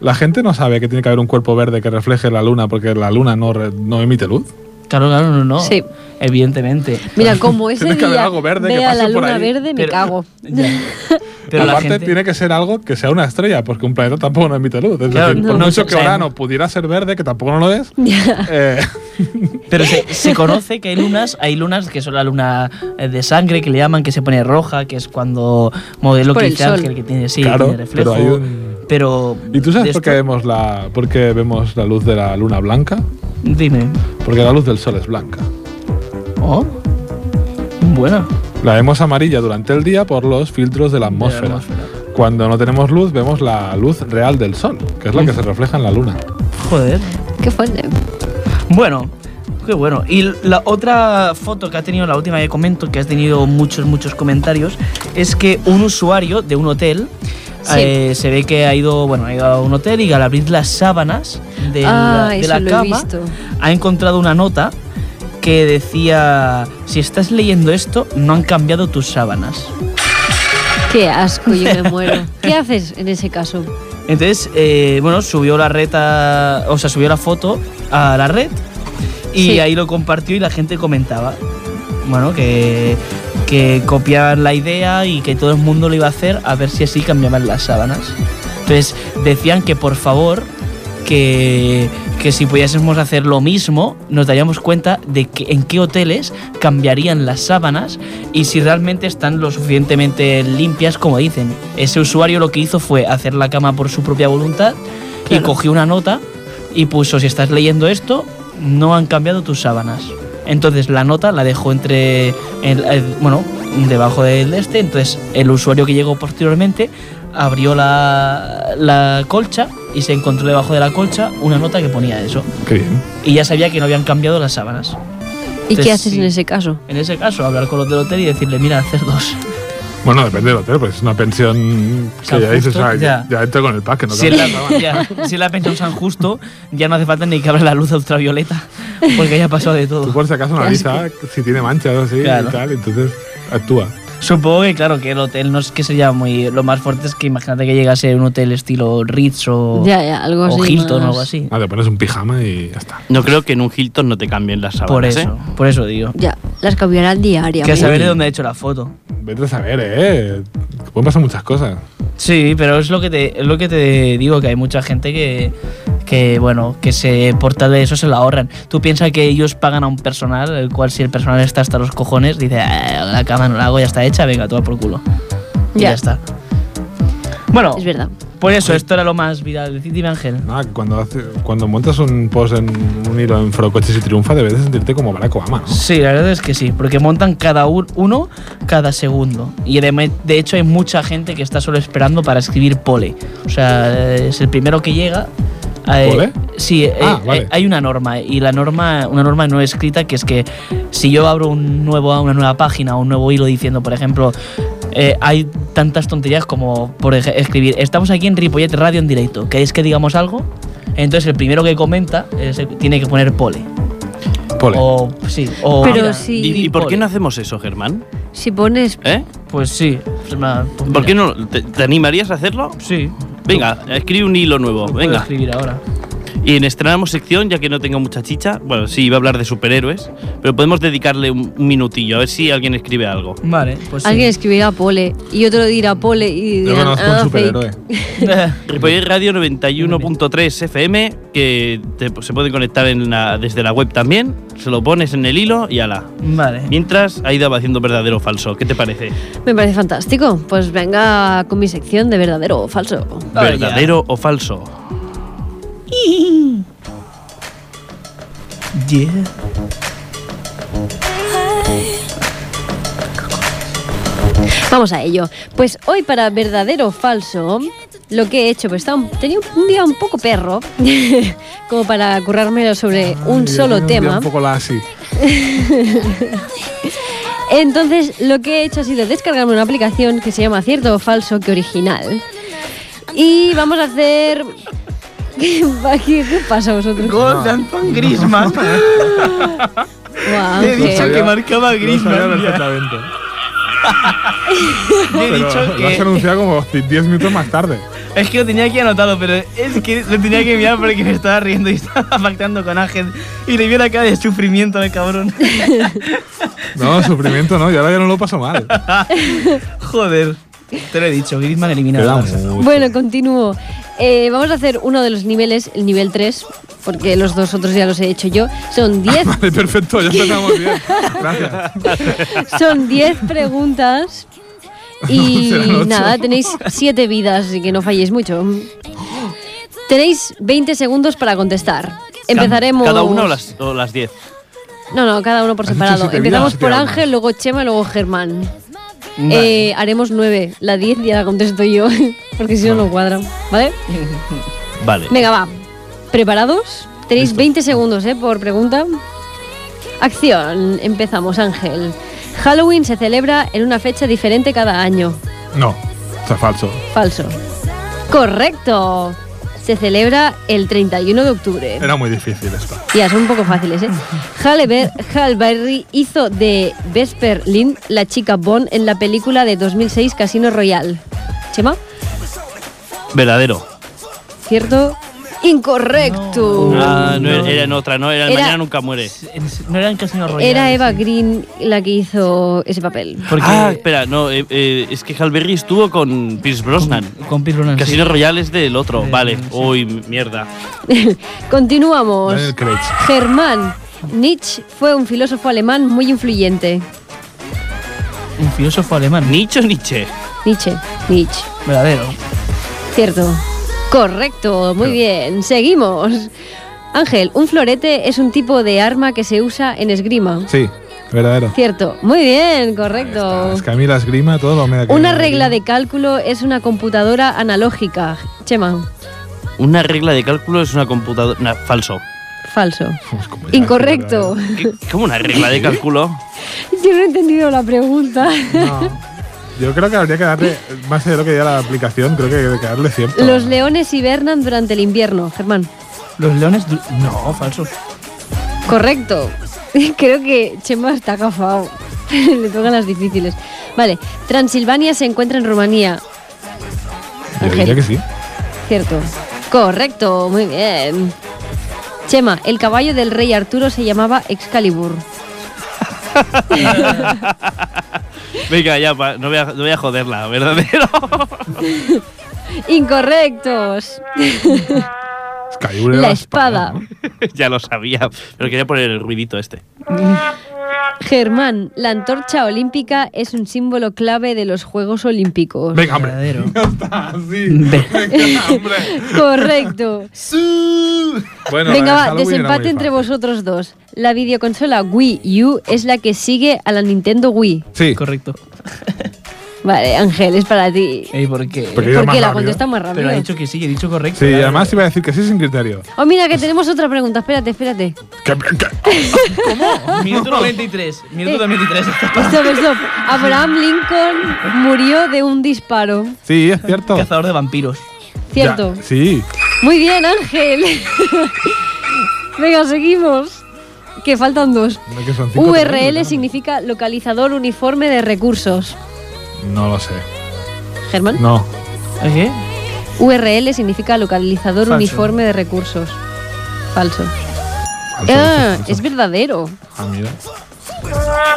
Speaker 3: La gente no sabe que tiene que haber un cuerpo verde que refleje la luna porque la luna no, re- no emite luz.
Speaker 1: Claro, claro, no, no.
Speaker 2: Sí.
Speaker 1: Evidentemente.
Speaker 2: Mira, como ese
Speaker 3: Tiene que haber
Speaker 2: día
Speaker 3: algo verde que
Speaker 2: vea
Speaker 3: pase
Speaker 2: la
Speaker 3: por
Speaker 2: luna
Speaker 3: ahí.
Speaker 2: verde, me
Speaker 1: Pero-
Speaker 2: cago.
Speaker 1: Ya. Pero la
Speaker 3: Aparte,
Speaker 1: gente.
Speaker 3: tiene que ser algo que sea una estrella, porque un planeta tampoco no emite luz. Es
Speaker 1: Claro,
Speaker 3: decir,
Speaker 1: no,
Speaker 3: por
Speaker 1: no,
Speaker 3: mucho
Speaker 1: o
Speaker 3: que
Speaker 1: sea,
Speaker 3: Urano pudiera ser verde, que tampoco no lo es, eh,
Speaker 1: Pero se, se conoce que hay lunas, hay lunas que son la luna eh, de sangre, que le llaman, que se pone roja, que es cuando modelo
Speaker 2: Por
Speaker 1: que
Speaker 2: el
Speaker 1: dice
Speaker 2: sol.
Speaker 1: Ángel, que tiene, sí,
Speaker 3: Claro,
Speaker 1: tiene reflejo.
Speaker 3: pero hay un-
Speaker 1: pero
Speaker 3: ¿Y tú sabes
Speaker 1: de
Speaker 3: por qué,
Speaker 1: esto-
Speaker 3: vemos la, por qué vemos la luz de la luna blanca?
Speaker 1: Dime.
Speaker 3: Porque la luz del sol es blanca.
Speaker 1: Oh. Bueno.
Speaker 3: La vemos amarilla durante el día por los filtros de la atmósfera.
Speaker 1: atmósfera.
Speaker 3: Cuando no tenemos luz, vemos la luz real del sol, que es la que se refleja en la luna.
Speaker 1: Joder.
Speaker 2: Qué fuerte.
Speaker 1: Bueno, qué bueno. Y la otra foto que ha tenido, la última que comento, que has tenido muchos, muchos comentarios, es que un usuario de un hotel
Speaker 2: Sí.
Speaker 1: eh, se ve que ha ido, bueno, ha ido a un hotel y al abrir las sábanas de la,
Speaker 2: Ah,
Speaker 1: de
Speaker 2: eso
Speaker 1: la
Speaker 2: lo he
Speaker 1: cama
Speaker 2: visto.
Speaker 1: ha encontrado una nota que decía, si estás leyendo esto, no han cambiado tus sábanas.
Speaker 2: Qué asco, yo me muero. ¿Qué haces en ese caso?
Speaker 1: Entonces, eh, bueno, subió la red a- o sea, subió la foto a la red y
Speaker 2: Sí.
Speaker 1: ahí lo compartió y la gente comentaba, bueno, que, que copiaban la idea y que todo el mundo lo iba a hacer a ver si así cambiaban las sábanas. Entonces, decían que por favor, que, que si pudiésemos hacer lo mismo, nos daríamos cuenta de que, en qué hoteles cambiarían las sábanas y si realmente están lo suficientemente limpias como dicen. Ese usuario lo que hizo fue hacer la cama por su propia voluntad y cogió una nota y puso, si estás leyendo esto, no han cambiado tus sábanas. Entonces la nota la dejó entre, el- el- bueno, debajo del este, entonces el usuario que llegó posteriormente abrió la, la colcha y se encontró debajo de la colcha una nota que ponía eso.
Speaker 3: Qué bien.
Speaker 1: Y ya sabía que no habían cambiado las sábanas.
Speaker 2: ¿Y
Speaker 1: Sí.
Speaker 2: qué haces en ese caso?
Speaker 1: En ese caso, hablar con los del hotel y decirle, mira, hacer dos.
Speaker 3: Bueno, depende del hotel, pues es una pensión que
Speaker 1: San
Speaker 3: ya dices,
Speaker 1: Justo,
Speaker 3: ah, ya.
Speaker 1: ya.
Speaker 3: ya entro con el pack, que no
Speaker 1: Si
Speaker 3: cambia
Speaker 1: la,
Speaker 3: nada.
Speaker 1: ya, si la pensión San Justo, ya no hace falta ni que abra la luz ultravioleta, porque ya ha pasado de
Speaker 3: Tú
Speaker 1: todo.
Speaker 3: por si acaso analiza si tiene manchas o así
Speaker 1: Claro.
Speaker 3: y tal, entonces actúa.
Speaker 1: Supongo que, claro, que el hotel no es que sería muy. Lo más fuerte es que imagínate que llegase un hotel estilo Ritz o,
Speaker 2: Ya, ya, algo
Speaker 1: o
Speaker 2: así.
Speaker 1: Hilton o
Speaker 2: más-
Speaker 1: algo así.
Speaker 3: Ah, te pones un pijama y ya está.
Speaker 4: No creo que en un Hilton no te cambien las sábanas.
Speaker 1: Por eso,
Speaker 4: ¿eh?
Speaker 1: por eso digo.
Speaker 2: Ya, las cambiarán diariamente.
Speaker 1: Que a saber de dónde ha hecho la foto.
Speaker 3: Vete a saber, eh. que Pueden pasar muchas cosas.
Speaker 1: Sí, pero es lo que te, es lo que te digo, que hay mucha gente que, que, bueno, que se porta de eso, se lo ahorran. Tú piensas que ellos pagan a un personal, el cual si el personal está hasta los cojones, dice, "Ah, la cama no la hago, ya está hecha, venga, toma por culo. Y ya,
Speaker 2: Ya.
Speaker 1: está. Bueno,
Speaker 2: Es verdad.
Speaker 1: por eso, esto era lo más viral. Dime, Ángel.
Speaker 3: Nada, que Ah, cuando, hace- cuando montas un post en un hilo en Frocoches y Triunfa, debes de sentirte como Barack Obama, ¿no?
Speaker 1: Sí, la verdad es que sí, porque montan cada un- uno cada segundo. Y de, de hecho hay mucha gente que está solo esperando para escribir pole. O sea, eh, es el primero que llega. eh,
Speaker 3: ¿Pole?
Speaker 1: Sí, eh,
Speaker 3: Ah,
Speaker 1: eh,
Speaker 3: vale.
Speaker 1: hay una norma y la norma, una norma no escrita que es que si yo abro un nuevo, una nueva página o un nuevo hilo diciendo, por ejemplo, eh, hay tantas tonterías como por ej- escribir, estamos aquí en Ripollet Radio en directo, ¿queréis que digamos algo? Entonces el primero que comenta eh, se- tiene que poner pole.
Speaker 3: Pole.
Speaker 2: Oh,
Speaker 1: O, sí, o
Speaker 2: Pero
Speaker 1: mira,
Speaker 2: sí.
Speaker 4: ¿Y, y por qué no hacemos eso, Germán?
Speaker 2: Si pones.
Speaker 4: ¿Eh?
Speaker 1: Pues sí. pues nada, pues
Speaker 4: ¿Por
Speaker 1: mira.
Speaker 4: qué no? ¿Te, te animarías a hacerlo?
Speaker 1: Sí.
Speaker 4: Venga, escribe un hilo nuevo.
Speaker 1: Lo puedo
Speaker 4: Venga.
Speaker 1: escribir ahora.
Speaker 4: Y en estrenamos sección, ya que no tengo mucha chicha. Bueno, sí, iba a hablar de superhéroes, pero podemos dedicarle un un minutillo, a ver si alguien escribe algo.
Speaker 1: Vale, pues sí.
Speaker 2: Alguien escribirá Pole y otro dirá Pole y
Speaker 3: Yo
Speaker 2: dirán,
Speaker 3: conozco
Speaker 2: "Ah,
Speaker 3: un
Speaker 2: fake".
Speaker 3: superhéroe.
Speaker 4: Ripollet Radio 91.3 FM, que te- se puede conectar en la- desde la web también. Se lo pones en el hilo y ala.
Speaker 1: vale.
Speaker 4: Mientras, Aida va haciendo verdadero o falso. ¿Qué te parece?
Speaker 2: Me parece fantástico. Pues venga con mi sección de verdadero o falso.
Speaker 1: Vaya.
Speaker 4: ¿Verdadero o falso?
Speaker 1: Yeah.
Speaker 2: Vamos a ello. Pues hoy para verdadero o falso lo que he hecho, pues estaba un- tenía un día un poco perro, como para currármelo sobre un
Speaker 3: Ay,
Speaker 2: solo
Speaker 3: yo tenía
Speaker 2: tema.
Speaker 3: Un poco la así.
Speaker 2: Entonces, lo que he hecho ha sido descargarme una aplicación que se llama Cierto o Falso que Original. Y vamos a hacer. ¿Qué, qué- qué pasa a vosotros?
Speaker 1: Gol de Antoine Griezmann.
Speaker 2: Guau,
Speaker 1: Te he
Speaker 2: Ángel.
Speaker 1: dicho que marcaba
Speaker 3: Lo sabía
Speaker 1: Griezmann. ya.
Speaker 3: perfectamente.
Speaker 1: Te he
Speaker 3: Pero
Speaker 1: dicho
Speaker 3: Lo has
Speaker 1: que.
Speaker 3: anunciado como 10 minutos más tarde.
Speaker 1: Es que lo tenía aquí anotado, pero es que lo tenía que mirar porque me estaba riendo y estaba pactando con Ángel. Y le vi la cara de sufrimiento al cabrón.
Speaker 3: No, sufrimiento no, yo ahora ya no lo paso mal.
Speaker 1: Joder. Te lo he dicho, Griezmann eliminado.
Speaker 5: Queda
Speaker 1: Barça.
Speaker 5: mucho.
Speaker 2: Bueno, continúo. Eh, vamos a hacer uno de los niveles, el nivel 3, porque los dos otros ya los he hecho yo. Son 10
Speaker 3: Vale, perfecto, ya empezamos bien. Gracias.
Speaker 2: son 10 preguntas. Y
Speaker 3: Serán ocho.
Speaker 2: nada, tenéis 7 vidas, así que no falléis mucho. Tenéis 20 segundos para contestar. Empezaremos.
Speaker 4: ¿Cada una o las, o las diez?
Speaker 2: No, no, cada uno por
Speaker 3: Has dicho
Speaker 2: separado.
Speaker 3: siete
Speaker 2: Empezamos
Speaker 3: vidas,
Speaker 2: por
Speaker 3: tío.
Speaker 2: Ángel, luego Chema, luego Germán.
Speaker 1: Vale.
Speaker 2: Eh, haremos 9. La 10 ya la contesto yo, porque si no, no cuadra. ¿Vale?
Speaker 4: Vale.
Speaker 2: Venga, va. ¿Preparados? Tenéis 20 segundos, ¿eh? Por pregunta. Acción. Empezamos, Ángel. Halloween se celebra en una fecha diferente cada año.
Speaker 3: No, está falso.
Speaker 2: Falso. Correcto. Se celebra el 31 de octubre.
Speaker 3: Era muy difícil esto.
Speaker 2: Ya, son un poco fáciles, ¿eh? Halle Ber- Halle Berry hizo de Vesper Lynn la chica Bond en la película de 2006 Casino Royale. ¿Chema?
Speaker 4: Verdadero.
Speaker 2: ¿Cierto? Incorrecto.
Speaker 4: ah, no,
Speaker 1: no.
Speaker 4: Era en otra, no, era, el
Speaker 2: Era-
Speaker 4: Mañana Nunca Muere.
Speaker 1: No eran casi una rolla.
Speaker 2: Era Eva Green la que hizo ese papel.
Speaker 1: Porque
Speaker 4: Ah, espera, no, eh, eh, es que Halberry estuvo con Pierce Brosnan.
Speaker 1: con Pete Brosnan, Ah, sí.
Speaker 4: Casino Royale es del otro,
Speaker 1: Eh,
Speaker 4: vale.
Speaker 1: sí.
Speaker 4: Uy, mierda.
Speaker 2: Continuamos.
Speaker 3: Daniel Craig.
Speaker 2: Germán. Nietzsche fue un filósofo alemán muy influyente.
Speaker 1: Un filósofo alemán.
Speaker 4: Nicho Nietzsche.
Speaker 2: Nietzsche. Nietzsche.
Speaker 1: Verdadero.
Speaker 2: Cierto. Correcto. Muy bien. Seguimos. Ángel, un florete es un tipo de arma que se usa en esgrima.
Speaker 3: Sí, verdadero.
Speaker 2: Cierto. Muy bien.
Speaker 3: Ah,
Speaker 2: Correcto.
Speaker 3: Es que a mí la esgrima, todo lo me da que-
Speaker 2: Oh. Una regla de cálculo es una computadora analógica. Chema.
Speaker 4: Una regla de cálculo es una computadora. na- falso.
Speaker 2: Falso.
Speaker 3: Pues como ya,
Speaker 2: Incorrecto.
Speaker 4: ¿Qué- ¿Cómo una regla de cálculo?
Speaker 2: Yo no he entendido la pregunta.
Speaker 3: es verdadero. No. Yo creo que habría que darle, más de lo que ya la aplicación, creo que hay que darle cierto.
Speaker 2: Los leones hibernan durante el invierno, Germán.
Speaker 1: Los leones. du- No, falso.
Speaker 2: Correcto. Creo que Chema está cafao. Le tocan las difíciles. Vale, Transilvania se encuentra en Rumanía.
Speaker 3: Yo diría que sí.
Speaker 2: Cierto. Correcto, muy bien. Chema, el caballo del rey Arturo se llamaba Excalibur.
Speaker 4: Venga, ya, pa- no, voy a, no voy a joderla, ¿verdadero?
Speaker 2: Incorrectos.
Speaker 3: Excalibur era
Speaker 2: La espada.
Speaker 4: ya lo sabía, pero quería poner el ruidito este.
Speaker 2: Germán, la antorcha olímpica es un símbolo clave de los Juegos Olímpicos.
Speaker 3: Venga, hombre.
Speaker 1: Verdadero.
Speaker 3: Ya está, sí. Venga, hombre.
Speaker 2: Correcto. Venga,
Speaker 3: Bueno, la de
Speaker 2: va,
Speaker 3: Halloween era
Speaker 2: desempate
Speaker 3: muy
Speaker 2: entre
Speaker 3: fácil.
Speaker 2: vosotros dos. La videoconsola Wii U es la que sigue a la Nintendo Wii.
Speaker 3: Sí,
Speaker 1: Correcto.
Speaker 2: Vale, Ángel, es para ti.
Speaker 1: Ey, ¿por qué?
Speaker 3: Pero-
Speaker 2: Porque
Speaker 3: iba más
Speaker 2: la
Speaker 3: rápido.
Speaker 2: contesta más
Speaker 1: Pero
Speaker 2: rápido.
Speaker 1: ha dicho que sí, he dicho correcto.
Speaker 3: sí, y
Speaker 1: Claro.
Speaker 3: además iba a decir que sí sin criterio.
Speaker 2: Oh, mira, que tenemos otra pregunta. Espérate, espérate.
Speaker 3: ¿Qué- qué-
Speaker 1: Minuto 93. Minuto 93.
Speaker 2: Stop, stop. Abraham Lincoln murió de un disparo.
Speaker 3: Sí, es cierto.
Speaker 1: Cazador de vampiros.
Speaker 2: Cierto.
Speaker 3: Ya, sí.
Speaker 2: Muy bien, Ángel. Venga, seguimos. Que faltan dos.
Speaker 3: No, que son cinco
Speaker 2: URL
Speaker 3: también,
Speaker 2: significa localizador uniforme de recursos.
Speaker 3: No lo sé.
Speaker 2: Germán.
Speaker 3: No.
Speaker 1: ¿Qué?
Speaker 2: URL significa localizador
Speaker 1: Falso.
Speaker 2: uniforme de recursos. Falso.
Speaker 3: falso,
Speaker 2: ah,
Speaker 3: falso.
Speaker 2: es verdadero.
Speaker 3: Ah, mira.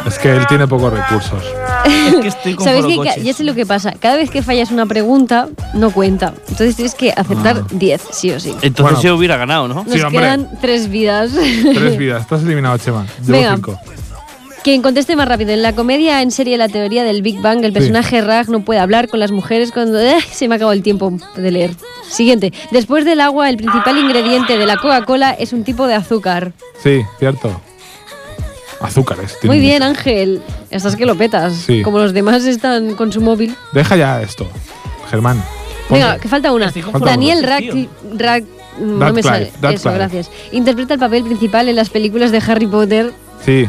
Speaker 3: Es que él tiene pocos recursos.
Speaker 1: Es que estoy con
Speaker 2: ¿Sabéis que
Speaker 1: forocoches.
Speaker 2: ya sé lo que pasa? Cada vez que fallas una pregunta, no cuenta. Entonces tienes que aceptar 10, sí o sí.
Speaker 4: Entonces
Speaker 3: Bueno.
Speaker 4: yo hubiera ganado, ¿no?
Speaker 2: Nos
Speaker 3: Ah. Eh, Sí, hombre.
Speaker 2: quedan tres vidas.
Speaker 3: Tres vidas. Estás eliminado, Chema. Llevo
Speaker 2: Venga.
Speaker 3: cinco.
Speaker 2: Quien conteste más rápido. En la comedia, en serie La teoría del Big Bang, el
Speaker 3: Sí.
Speaker 2: personaje Raj no puede hablar con las mujeres cuando... ¡Ah! se me acabó el tiempo de leer. Siguiente. Después del agua, el principal ingrediente de la Coca-Cola es un tipo de azúcar.
Speaker 3: Sí, cierto. Azúcares. tiene
Speaker 2: Muy bien,
Speaker 3: mucho.
Speaker 2: Ángel. Estás que lo petas.
Speaker 3: Sí.
Speaker 2: Como los demás están con su móvil.
Speaker 3: Deja ya esto, Germán.
Speaker 2: Venga, que falta una.
Speaker 1: Estoy confundido.
Speaker 2: Daniel
Speaker 1: Tío.
Speaker 2: Radcliffe. Rad- no me
Speaker 3: Radcliffe,
Speaker 2: sale. Eso,
Speaker 3: Radcliffe.
Speaker 2: gracias. Interpreta el papel principal en las películas de Harry Potter.
Speaker 3: Sí.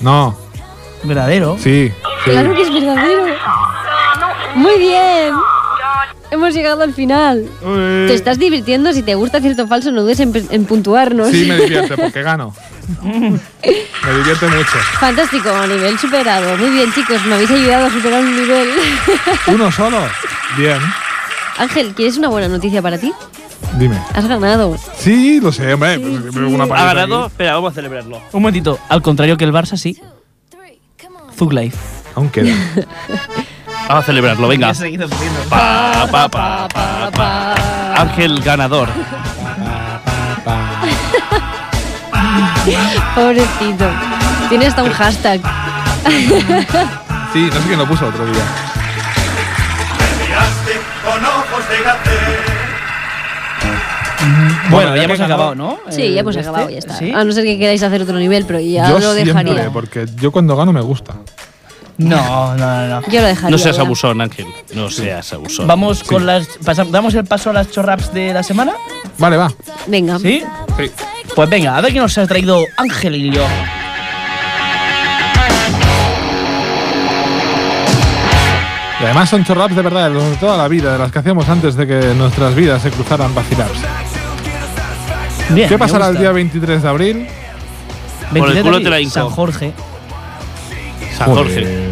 Speaker 3: No.
Speaker 1: Verdadero.
Speaker 3: Sí. sí.
Speaker 2: Claro que es verdadero. Muy bien. Hemos llegado al final.
Speaker 3: Uy.
Speaker 2: Te estás divirtiendo. Si te gusta cierto falso, no dudes en, en puntuarnos.
Speaker 3: Sí, me divierte porque gano. me divierte mucho.
Speaker 2: Fantástico, nivel superado. Muy bien, chicos, me habéis ayudado a superar un nivel.
Speaker 3: Uno solo. Bien.
Speaker 2: Ángel, ¿quieres una buena noticia para ti?
Speaker 3: Dime.
Speaker 2: Has ganado.
Speaker 3: Sí, lo sé, hombre. pues, una
Speaker 4: Ha
Speaker 3: paliza
Speaker 4: ganado,
Speaker 3: aquí.
Speaker 4: espera, vamos a celebrarlo.
Speaker 1: Un momentito. Al contrario que el Barça, sí. Zug Life.
Speaker 3: Aún queda.
Speaker 4: Vamos a celebrarlo,
Speaker 3: Ah.
Speaker 4: venga. Pa, pa, pa, pa, pa. Ángel ganador.
Speaker 2: Pobrecito. Tiene hasta un hashtag.
Speaker 3: Sí, no sé quién lo puso otro día.
Speaker 5: Miraste con ojos de gato.
Speaker 1: Bueno,
Speaker 3: Bueno,
Speaker 1: ya
Speaker 3: ya
Speaker 1: hemos
Speaker 3: que
Speaker 1: acabado,
Speaker 3: acabado,
Speaker 1: ¿no?
Speaker 2: Sí,
Speaker 1: El
Speaker 2: ya hemos
Speaker 1: este,
Speaker 2: acabado, ya está.
Speaker 1: ¿sí?
Speaker 2: A no ser que queráis hacer otro nivel, pero ya
Speaker 3: yo
Speaker 2: lo
Speaker 3: siempre,
Speaker 2: dejaría.
Speaker 3: porque yo cuando gano me gusta.
Speaker 1: No, no, no. no.
Speaker 2: Yo lo dejaría.
Speaker 4: No seas
Speaker 2: ya.
Speaker 4: abusón, Ángel. No seas abusón.
Speaker 1: Vamos con las. pasam- ¿Damos el paso a las chorraps de la semana?
Speaker 3: Vale, va.
Speaker 2: Venga.
Speaker 1: ¿Sí?
Speaker 3: Sí.
Speaker 1: Pues venga, a ver qué nos ha traído Ángel y yo.
Speaker 3: Y además son chorraps de verdad, de los de toda la vida, de las que hacíamos antes de que nuestras vidas se cruzaran vacilaps.
Speaker 1: Bien,
Speaker 3: ¿Qué
Speaker 1: me
Speaker 3: pasará el
Speaker 1: gusta.
Speaker 3: día 23 de abril?
Speaker 4: Por el
Speaker 1: 23 de
Speaker 4: culo te la
Speaker 1: abril,
Speaker 4: hinco.
Speaker 1: San Jorge.
Speaker 4: San Jorge.
Speaker 3: Joder.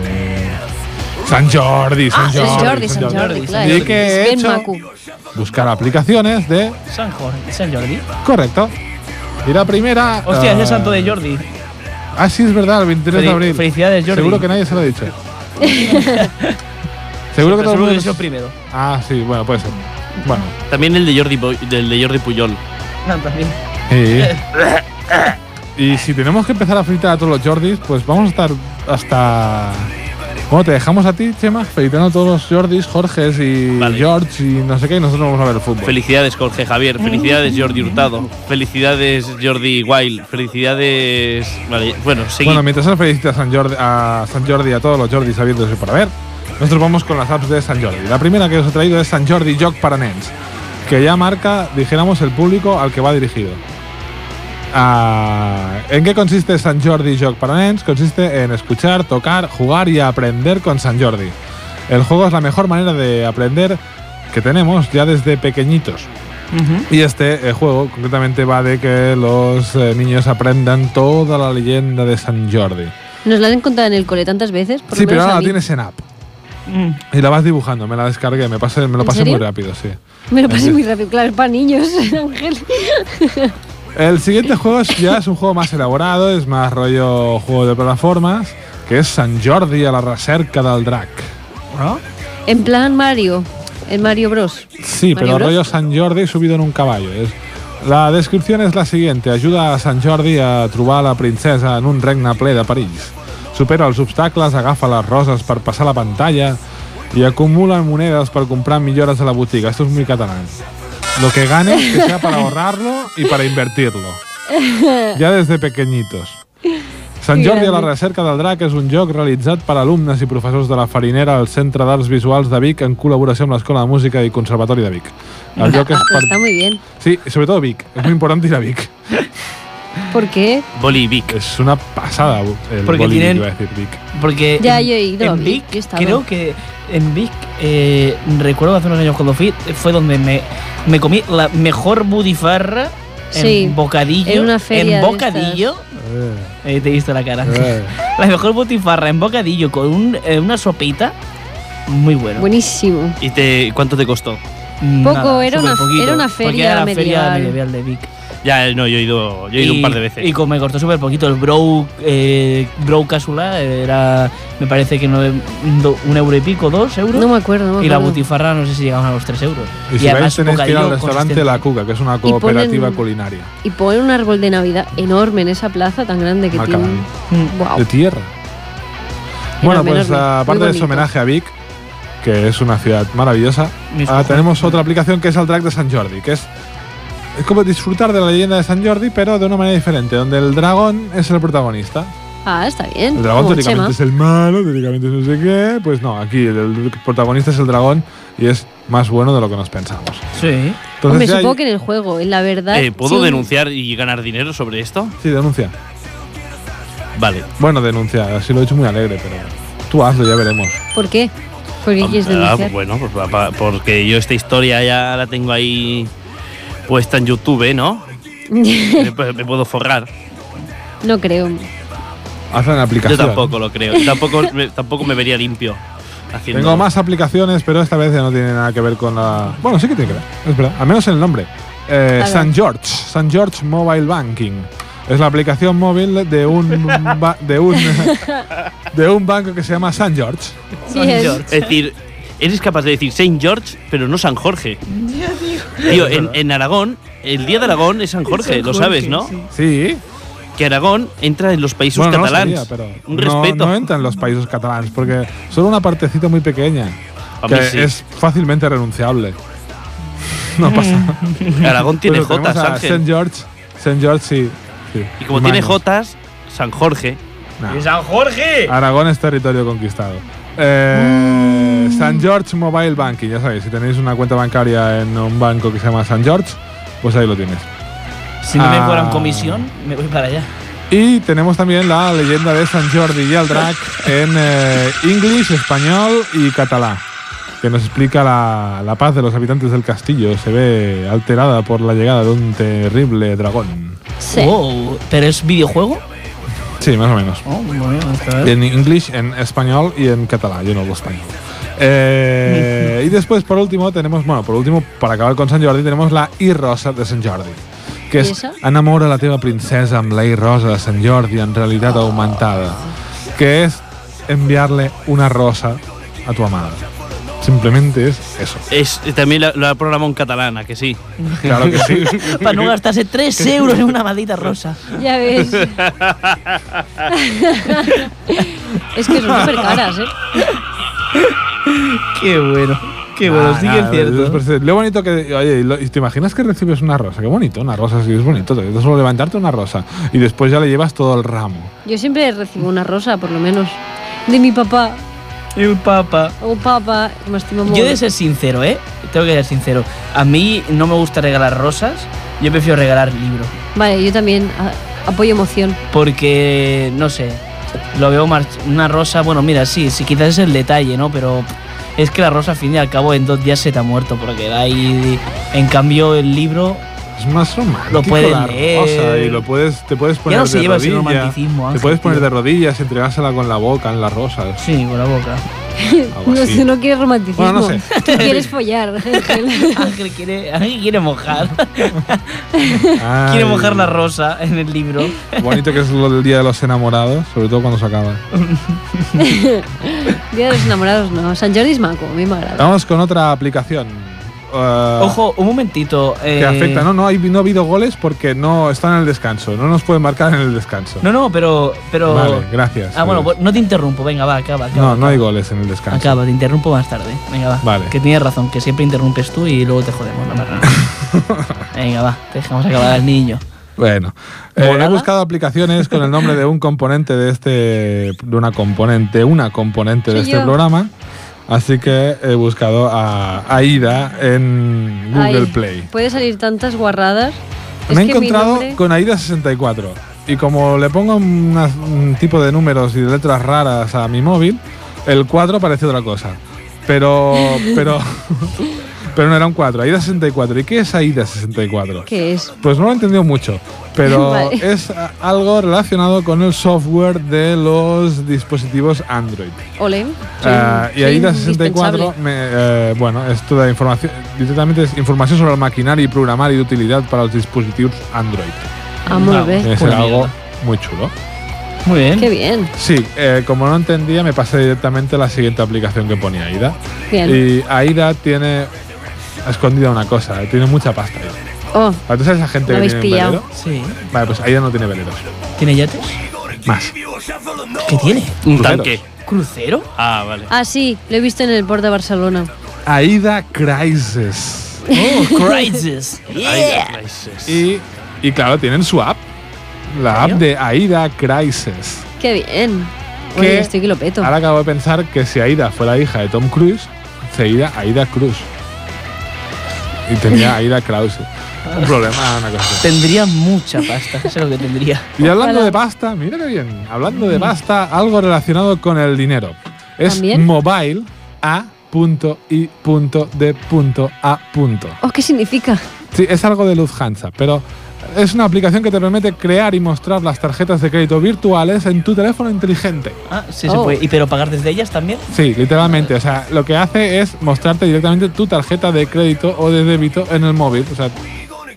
Speaker 3: San Jordi, San
Speaker 2: Ah,
Speaker 3: Jordi.
Speaker 2: San Jordi, San Jordi, claro.
Speaker 3: ¿Y qué he
Speaker 2: Ben
Speaker 3: hecho?
Speaker 2: Macu.
Speaker 3: Buscar aplicaciones de.
Speaker 1: San Jorge. San Jordi.
Speaker 3: Correcto. Y la primera.
Speaker 1: Hostia, es
Speaker 3: ah,
Speaker 1: el santo de Jordi.
Speaker 3: Ah, sí, es verdad, el 23
Speaker 1: Fel-
Speaker 3: de abril.
Speaker 1: felicidades, Jordi.
Speaker 3: Seguro que nadie se lo ha dicho. Seguro que todo
Speaker 1: Seguro
Speaker 3: el mundo.
Speaker 1: que soy el primero.
Speaker 3: Ah, sí, bueno, puede ser.
Speaker 1: Mm.
Speaker 3: Bueno.
Speaker 4: También el de Jordi, Boy- del de Jordi Puyol.
Speaker 1: No, también.
Speaker 3: Sí. y si tenemos que empezar a felicitar a todos los Jordis, pues vamos a estar hasta. Bueno, te dejamos a ti, Chema, felicitando a todos los Jordis, Jorges y
Speaker 4: Vale.
Speaker 3: George y no sé qué, y nosotros vamos a ver el fútbol.
Speaker 4: Felicidades, Jorge Javier. Felicidades, Jordi Hurtado. Felicidades, Jordi Wild. Felicidades. Vale, bueno, seguimos.
Speaker 3: Bueno, mientras nos felicita a San Jordi, a San Jordi y a todos los Jordis habiéndose para ver, nosotros vamos con las apps de San Jordi. La primera que os he traído es San Jordi Jog para Nens, que ya marca, dijéramos, el público al que va dirigido. Ah, ¿En qué consiste San Jordi Jog para Nens? Consiste en escuchar, tocar, jugar y aprender con San Jordi. El juego es la mejor manera de aprender que tenemos ya desde pequeñitos. Y este eh, juego concretamente va de que los eh, niños aprendan toda la leyenda de San Jordi.
Speaker 2: Nos la han contado en el cole tantas veces. Por lo
Speaker 3: Sí, pero
Speaker 2: menos a
Speaker 3: ahora la
Speaker 2: mí. Mm.
Speaker 3: tienes en app. Y la vas dibujando, me la descargué, me, pasé, me lo
Speaker 2: ¿En
Speaker 3: pasé muy
Speaker 2: serio?
Speaker 3: rápido, sí.
Speaker 2: Me lo pasé muy rápido. Claro, es para niños, Ángel.
Speaker 3: El siguiente juego es- ya es un juego más elaborado, es más rollo juego de plataformas, que es San Jordi a la recerca del drac.
Speaker 2: ¿Ah? En plan Mario. En Mario Bros. Mario
Speaker 3: Sí, pero
Speaker 2: Bros.
Speaker 3: rollo San Jordi subido en un caballo. Es- la descripción es la siguiente. Ajuda a Sant Jordi a trobar la princesa en un regne ple de perills. Supera els obstacles, agafa les roses per passar la pantalla i acumula monedes per comprar millores a la botiga. Esto es muy catalán. Lo que gane, que sea para ahorrarlo y para invertirlo. Ya desde pequeñitos. Sant
Speaker 2: Que
Speaker 3: Jordi a la
Speaker 2: grande.
Speaker 3: recerca del drac és un joc realitzat per alumnes i professors de la Farinera al Centre d'Arts Visuals de Vic en col·laboració amb l'Escola de Música i Conservatori de Vic. El joc és
Speaker 2: Pues está muy bien.
Speaker 3: Sí, sobretot Vic. És molt important ir a Vic.
Speaker 2: ¿Por qué?
Speaker 4: Bolivic.
Speaker 3: És una passada el
Speaker 1: Porque
Speaker 3: boli,
Speaker 1: tienen-
Speaker 3: iba a decir Vic.
Speaker 1: Porque
Speaker 2: Ya,
Speaker 1: en,
Speaker 2: yo he ido a
Speaker 1: en
Speaker 2: Vic,
Speaker 1: Vic,
Speaker 2: yo he estado.
Speaker 1: creo que en Vic, eh, recuerdo hace unos años cuando fui, fue donde me, me comí la mejor budifarra en
Speaker 2: Sí,
Speaker 1: bocadillo.
Speaker 2: en una feria
Speaker 1: en
Speaker 2: de
Speaker 1: bocadillo.
Speaker 3: Eh,
Speaker 1: Eh, te he visto la cara.
Speaker 3: eh.
Speaker 1: La mejor butifarra en bocadillo con un- eh, una sopita. Muy bueno.
Speaker 2: Buenísimo.
Speaker 4: ¿Y te, cuánto te costó?
Speaker 1: Nada,
Speaker 2: Poco, era una-
Speaker 1: superpoquito,
Speaker 2: era una
Speaker 1: porque
Speaker 2: feria
Speaker 1: era la feria
Speaker 2: medieval.
Speaker 1: medieval de Vic.
Speaker 4: Ya, eh, no, yo he ido, yo he ido un par de veces.
Speaker 1: Y como me costó súper poquito, el Brow eh, Brow Casula era, me parece que no, do- un euro y pico, dos euros.
Speaker 2: No me acuerdo. no me
Speaker 1: y la
Speaker 2: acuerdo.
Speaker 1: butifarra no sé si llegaban a los 3 euros.
Speaker 3: I si vais
Speaker 1: además
Speaker 3: tenéis que ir al
Speaker 1: bocadillo
Speaker 3: restaurante
Speaker 1: consistente.
Speaker 3: La Cuca, que és una
Speaker 2: ponen-
Speaker 3: cooperativa culinària.
Speaker 2: Y poner un árbol de Navidad enorme en esa plaza tan grande que
Speaker 3: Macarán.
Speaker 2: tiene.
Speaker 1: Mm.
Speaker 2: Wow.
Speaker 3: De tierra. Bueno,
Speaker 2: Enorme,
Speaker 3: pues
Speaker 2: enorme. Muy
Speaker 3: aparte de su
Speaker 2: bonito.
Speaker 3: homenaje a Vic, que es una ciudad maravillosa,
Speaker 1: Mis
Speaker 3: ahora
Speaker 1: cojones.
Speaker 3: tenemos otra aplicación que es el track de San Jordi, que es, es como disfrutar de la leyenda de San Jordi, pero de una manera diferente, donde el dragón es el protagonista.
Speaker 2: Ah, está bien.
Speaker 3: El dragón
Speaker 2: Como Chema.
Speaker 3: teóricamente es el malo, teóricamente es no sé qué. Pues no, aquí el, el protagonista es el dragón y es más bueno de lo que nos pensamos.
Speaker 1: Sí.
Speaker 2: Hombre,
Speaker 3: ya hay-
Speaker 2: supongo que en el juego, en la verdad.
Speaker 4: Eh, ¿Puedo
Speaker 2: sí.
Speaker 4: denunciar y ganar dinero sobre esto?
Speaker 3: Sí, denuncia.
Speaker 4: Vale.
Speaker 3: Bueno, denuncia, así lo he hecho muy alegre, pero tú hazlo, ya veremos.
Speaker 2: ¿Por qué? ¿Por qué quieres
Speaker 4: Ah,
Speaker 2: denunciar?
Speaker 4: bueno, pues pa- pa- porque yo esta historia ya la tengo ahí puesta en YouTube, ¿no? me, pu- me puedo forrar.
Speaker 2: no creo.
Speaker 3: Hazlo en la
Speaker 4: Yo
Speaker 3: aplicación.
Speaker 4: tampoco lo creo. Yo Tampoco me, tampoco me vería limpio. Haciendo
Speaker 3: Tengo más aplicaciones, pero esta vez ya no tiene nada que ver con la. Bueno, sí que tiene que ver, es verdad. Al menos en el nombre. Eh,
Speaker 2: A ver.
Speaker 3: San George, San George Mobile Banking. Es la aplicación móvil de un ba- de un de un banco que se llama San George.
Speaker 2: Sí, es-
Speaker 4: Es decir, eres capaz de decir Saint George, pero no San Jorge. Tío, en, en Aragón, el día de Aragón es San Jorge, lo sabes, ¿no?
Speaker 3: Sí.
Speaker 4: Que Aragón entra en los países
Speaker 3: Bueno, no lo
Speaker 4: catalanes.
Speaker 3: sabía, pero
Speaker 4: Un
Speaker 3: no-
Speaker 4: respeto.
Speaker 3: No entran los países catalanes porque solo una partecita muy pequeña
Speaker 4: A mí
Speaker 3: que
Speaker 4: sí.
Speaker 3: es fácilmente renunciable. No pasa. nada.
Speaker 4: Aragón tiene
Speaker 3: Pero tenemos
Speaker 4: Jotas,
Speaker 3: a
Speaker 4: Ángel.
Speaker 3: San George, San George sí. sí.
Speaker 4: Y como tiene
Speaker 3: Manos.
Speaker 4: Jotas, San Jorge.
Speaker 3: Nah.
Speaker 1: San Jorge!
Speaker 3: Aragón es territorio conquistado. Eh, San George Mobile Banking, ya sabéis, si tenéis una cuenta bancaria en un banco que se llama San George, pues ahí lo tienes.
Speaker 1: Si no
Speaker 3: Ah.
Speaker 1: me cobran comisión, me voy para allá.
Speaker 3: Y tenemos también la leyenda de San Jordi y el drag en eh, inglés, español y catalán, que nos explica la, la paz de los habitantes del castillo. Se ve alterada por la llegada de un terrible dragón.
Speaker 2: sí.
Speaker 3: Oh.
Speaker 1: Wow, Oh, ¿Pero es videojuego?
Speaker 3: Sí, más o menos.
Speaker 1: Oh, bueno, está bien.
Speaker 3: En inglés, en español y en catalán. Yo no hablo español. Eh, y después, por último, tenemos, bueno, por último, para acabar con Sant Jordi, tenemos la I Rosa de Sant Jordi. Que
Speaker 2: I
Speaker 3: és
Speaker 2: això?
Speaker 3: Enamora la teva princesa amb la I Rosa de Sant Jordi en realitat augmentada. Que es enviarle una rosa a tu amada. Simplemente es eso.
Speaker 4: Es, también la, la programa en catalana, que sí.
Speaker 3: Claro que sí.
Speaker 1: Para no gastarse 3 euros en una maldita rosa.
Speaker 2: Ya ves. es que son súper caras, ¿eh?
Speaker 1: Qué bueno, qué bueno,
Speaker 3: Nah,
Speaker 1: sí que
Speaker 3: nah,
Speaker 1: es cierto.
Speaker 3: los perse- Lo bonito que. Oye, y lo- y ¿te imaginas que recibes una rosa? Qué bonito, una rosa, sí, es bonito. Te solo levantarte una rosa y después ya le llevas todo el ramo.
Speaker 2: Yo siempre recibo una rosa, por lo menos. De mi papá
Speaker 1: El papa.
Speaker 2: o papá, que m'estima molt.
Speaker 1: Yo he de ser sincero, ¿eh? Tengo que ser sincero. A mí no me gusta regalar rosas, yo prefiero regalar libros.
Speaker 2: Vale, yo también a- apoyo emoción.
Speaker 1: Porque, no sé, lo veo más. Una rosa, bueno, mira, sí, sí, quizás es el detalle, ¿no? Pero es que la rosa, al fin y al cabo, en dos días se te ha muerto, porque da ahí. En cambio, el libro.
Speaker 3: Es más romántico.
Speaker 1: Lo puedes
Speaker 3: la
Speaker 1: leer.
Speaker 3: rosa y lo puedes, te puedes poner
Speaker 1: no se
Speaker 3: de
Speaker 1: lleva ese
Speaker 3: rodillas.
Speaker 1: romanticismo,
Speaker 3: te
Speaker 1: Ángel,
Speaker 3: puedes poner
Speaker 1: tío.
Speaker 3: de rodillas y entregársela con la boca en las rosas.
Speaker 1: Sí, con la boca.
Speaker 3: Algo
Speaker 2: No,
Speaker 3: así.
Speaker 2: sé, no quieres romanticismo.
Speaker 3: Bueno, no sé.
Speaker 2: Tú quieres follar, Ángel.
Speaker 1: Ángel quiere, Ángel quiere mojar.
Speaker 3: Ay,
Speaker 1: quiere mojar la rosa en el libro.
Speaker 3: Bonito que es lo del día de los enamorados, sobre todo cuando se acaba.
Speaker 2: Día de los enamorados, no. San Jordi es maco, a mí me agrada.
Speaker 3: Vamos con otra aplicación. Eh,
Speaker 1: Ojo, un momentito.
Speaker 3: Que
Speaker 1: eh,
Speaker 3: afecta, no, no, hay, no ha habido goles porque no están en el descanso. No nos pueden marcar en el descanso.
Speaker 1: No, no, pero. pero
Speaker 3: Vale, gracias.
Speaker 1: Ah, bueno,
Speaker 3: Adiós.
Speaker 1: pues no te interrumpo, venga, va, acaba, acaba.
Speaker 3: No, no hay goles en el descanso.
Speaker 1: Acaba, te interrumpo más tarde. Venga, va.
Speaker 3: Vale.
Speaker 1: Que tienes razón, que siempre interrumpes tú y luego te jodemos la verdad. Venga, va, te dejamos acabar al niño.
Speaker 3: Bueno, eh, he
Speaker 1: ¿Volada?
Speaker 3: buscado aplicaciones con el nombre de un componente de este, de una componente, una componente de
Speaker 2: Soy
Speaker 3: este
Speaker 2: yo.
Speaker 3: programa. Así que he buscado a Aida en Google
Speaker 2: Ay,
Speaker 3: Play.
Speaker 2: Puede salir tantas guarradas. Es
Speaker 3: Me he
Speaker 2: que mi
Speaker 3: encontrado
Speaker 2: nombre-
Speaker 3: con Aida64. Y como le pongo unas- un tipo de números y de letras raras a mi móvil, el 4 parece otra cosa. Pero, pero, pero no era un 4, Aida64. ¿Y qué es Aida64?
Speaker 2: ¿Qué es?
Speaker 3: Pues no lo he entendido mucho, pero
Speaker 2: Vale.
Speaker 3: es a- algo relacionado con el software de los dispositivos Android.
Speaker 2: Ole. soy
Speaker 3: Ah,
Speaker 2: un-
Speaker 3: y
Speaker 2: soy
Speaker 3: ahí la 64,
Speaker 2: indispensable.
Speaker 3: me, eh, bueno, esto da información, directamente es información sobre el maquinario y programar y de utilidad para los dispositivos Android.
Speaker 2: Ah, molt
Speaker 1: Vamos.
Speaker 2: bé.
Speaker 3: Debe ser
Speaker 1: Pura
Speaker 3: algo
Speaker 1: mierda.
Speaker 3: muy chulo.
Speaker 1: Muy
Speaker 2: Qué
Speaker 1: bien.
Speaker 2: bien.
Speaker 3: Sí, eh, como no entendía, me pasé directamente a la siguiente aplicación que ponía AIDA.
Speaker 2: Bien.
Speaker 3: Y AIDA tiene escondida una cosa, eh, tiene mucha pasta. ahí.
Speaker 2: Oh,
Speaker 3: ¿Tú sabes esa gente
Speaker 2: Lo
Speaker 3: que
Speaker 2: habéis
Speaker 3: tiene un
Speaker 2: pillado.
Speaker 3: velero?
Speaker 1: Sí.
Speaker 3: Vale, pues AIDA no tiene veleros.
Speaker 1: ¿Tiene yates?
Speaker 3: Más.
Speaker 1: ¿Qué tiene?
Speaker 4: Un
Speaker 3: Cruceros.
Speaker 4: tanque.
Speaker 1: ¿Crucero?
Speaker 4: Ah, vale.
Speaker 2: ah, sí, lo he visto en el port de Barcelona.
Speaker 3: Aida Crisis.
Speaker 1: Oh, Crisis.
Speaker 4: Ay, gracias.
Speaker 3: Y, y claro, tienen su app. La app
Speaker 1: serio?
Speaker 3: de Aida Crisis.
Speaker 2: Qué bien.
Speaker 3: ¿Qué?
Speaker 2: Oye, estoy que lo peto.
Speaker 3: Ahora acabo de pensar que si Aida fuera hija de Tom Cruise, sería Aida Cruz. Y tenía a Ida Krause. Un problema, una cosa así.
Speaker 1: Tendría mucha pasta, eso es lo que tendría.
Speaker 3: Y hablando de pasta, mira qué bien. Hablando de pasta, algo relacionado con el dinero. Es
Speaker 2: ¿También?
Speaker 3: mobile a punto y punto de punto a punto.
Speaker 2: Oh, ¿Qué significa?
Speaker 3: Sí, es algo de Lufthansa, pero es una aplicación que te permite crear y mostrar las tarjetas de crédito virtuales en tu teléfono inteligente.
Speaker 1: Ah, sí se
Speaker 2: Oh.
Speaker 1: puede. ¿Y pero pagar desde ellas también?
Speaker 3: Sí, literalmente. O sea, lo que hace es mostrarte directamente tu tarjeta de crédito o de débito en el móvil. O sea,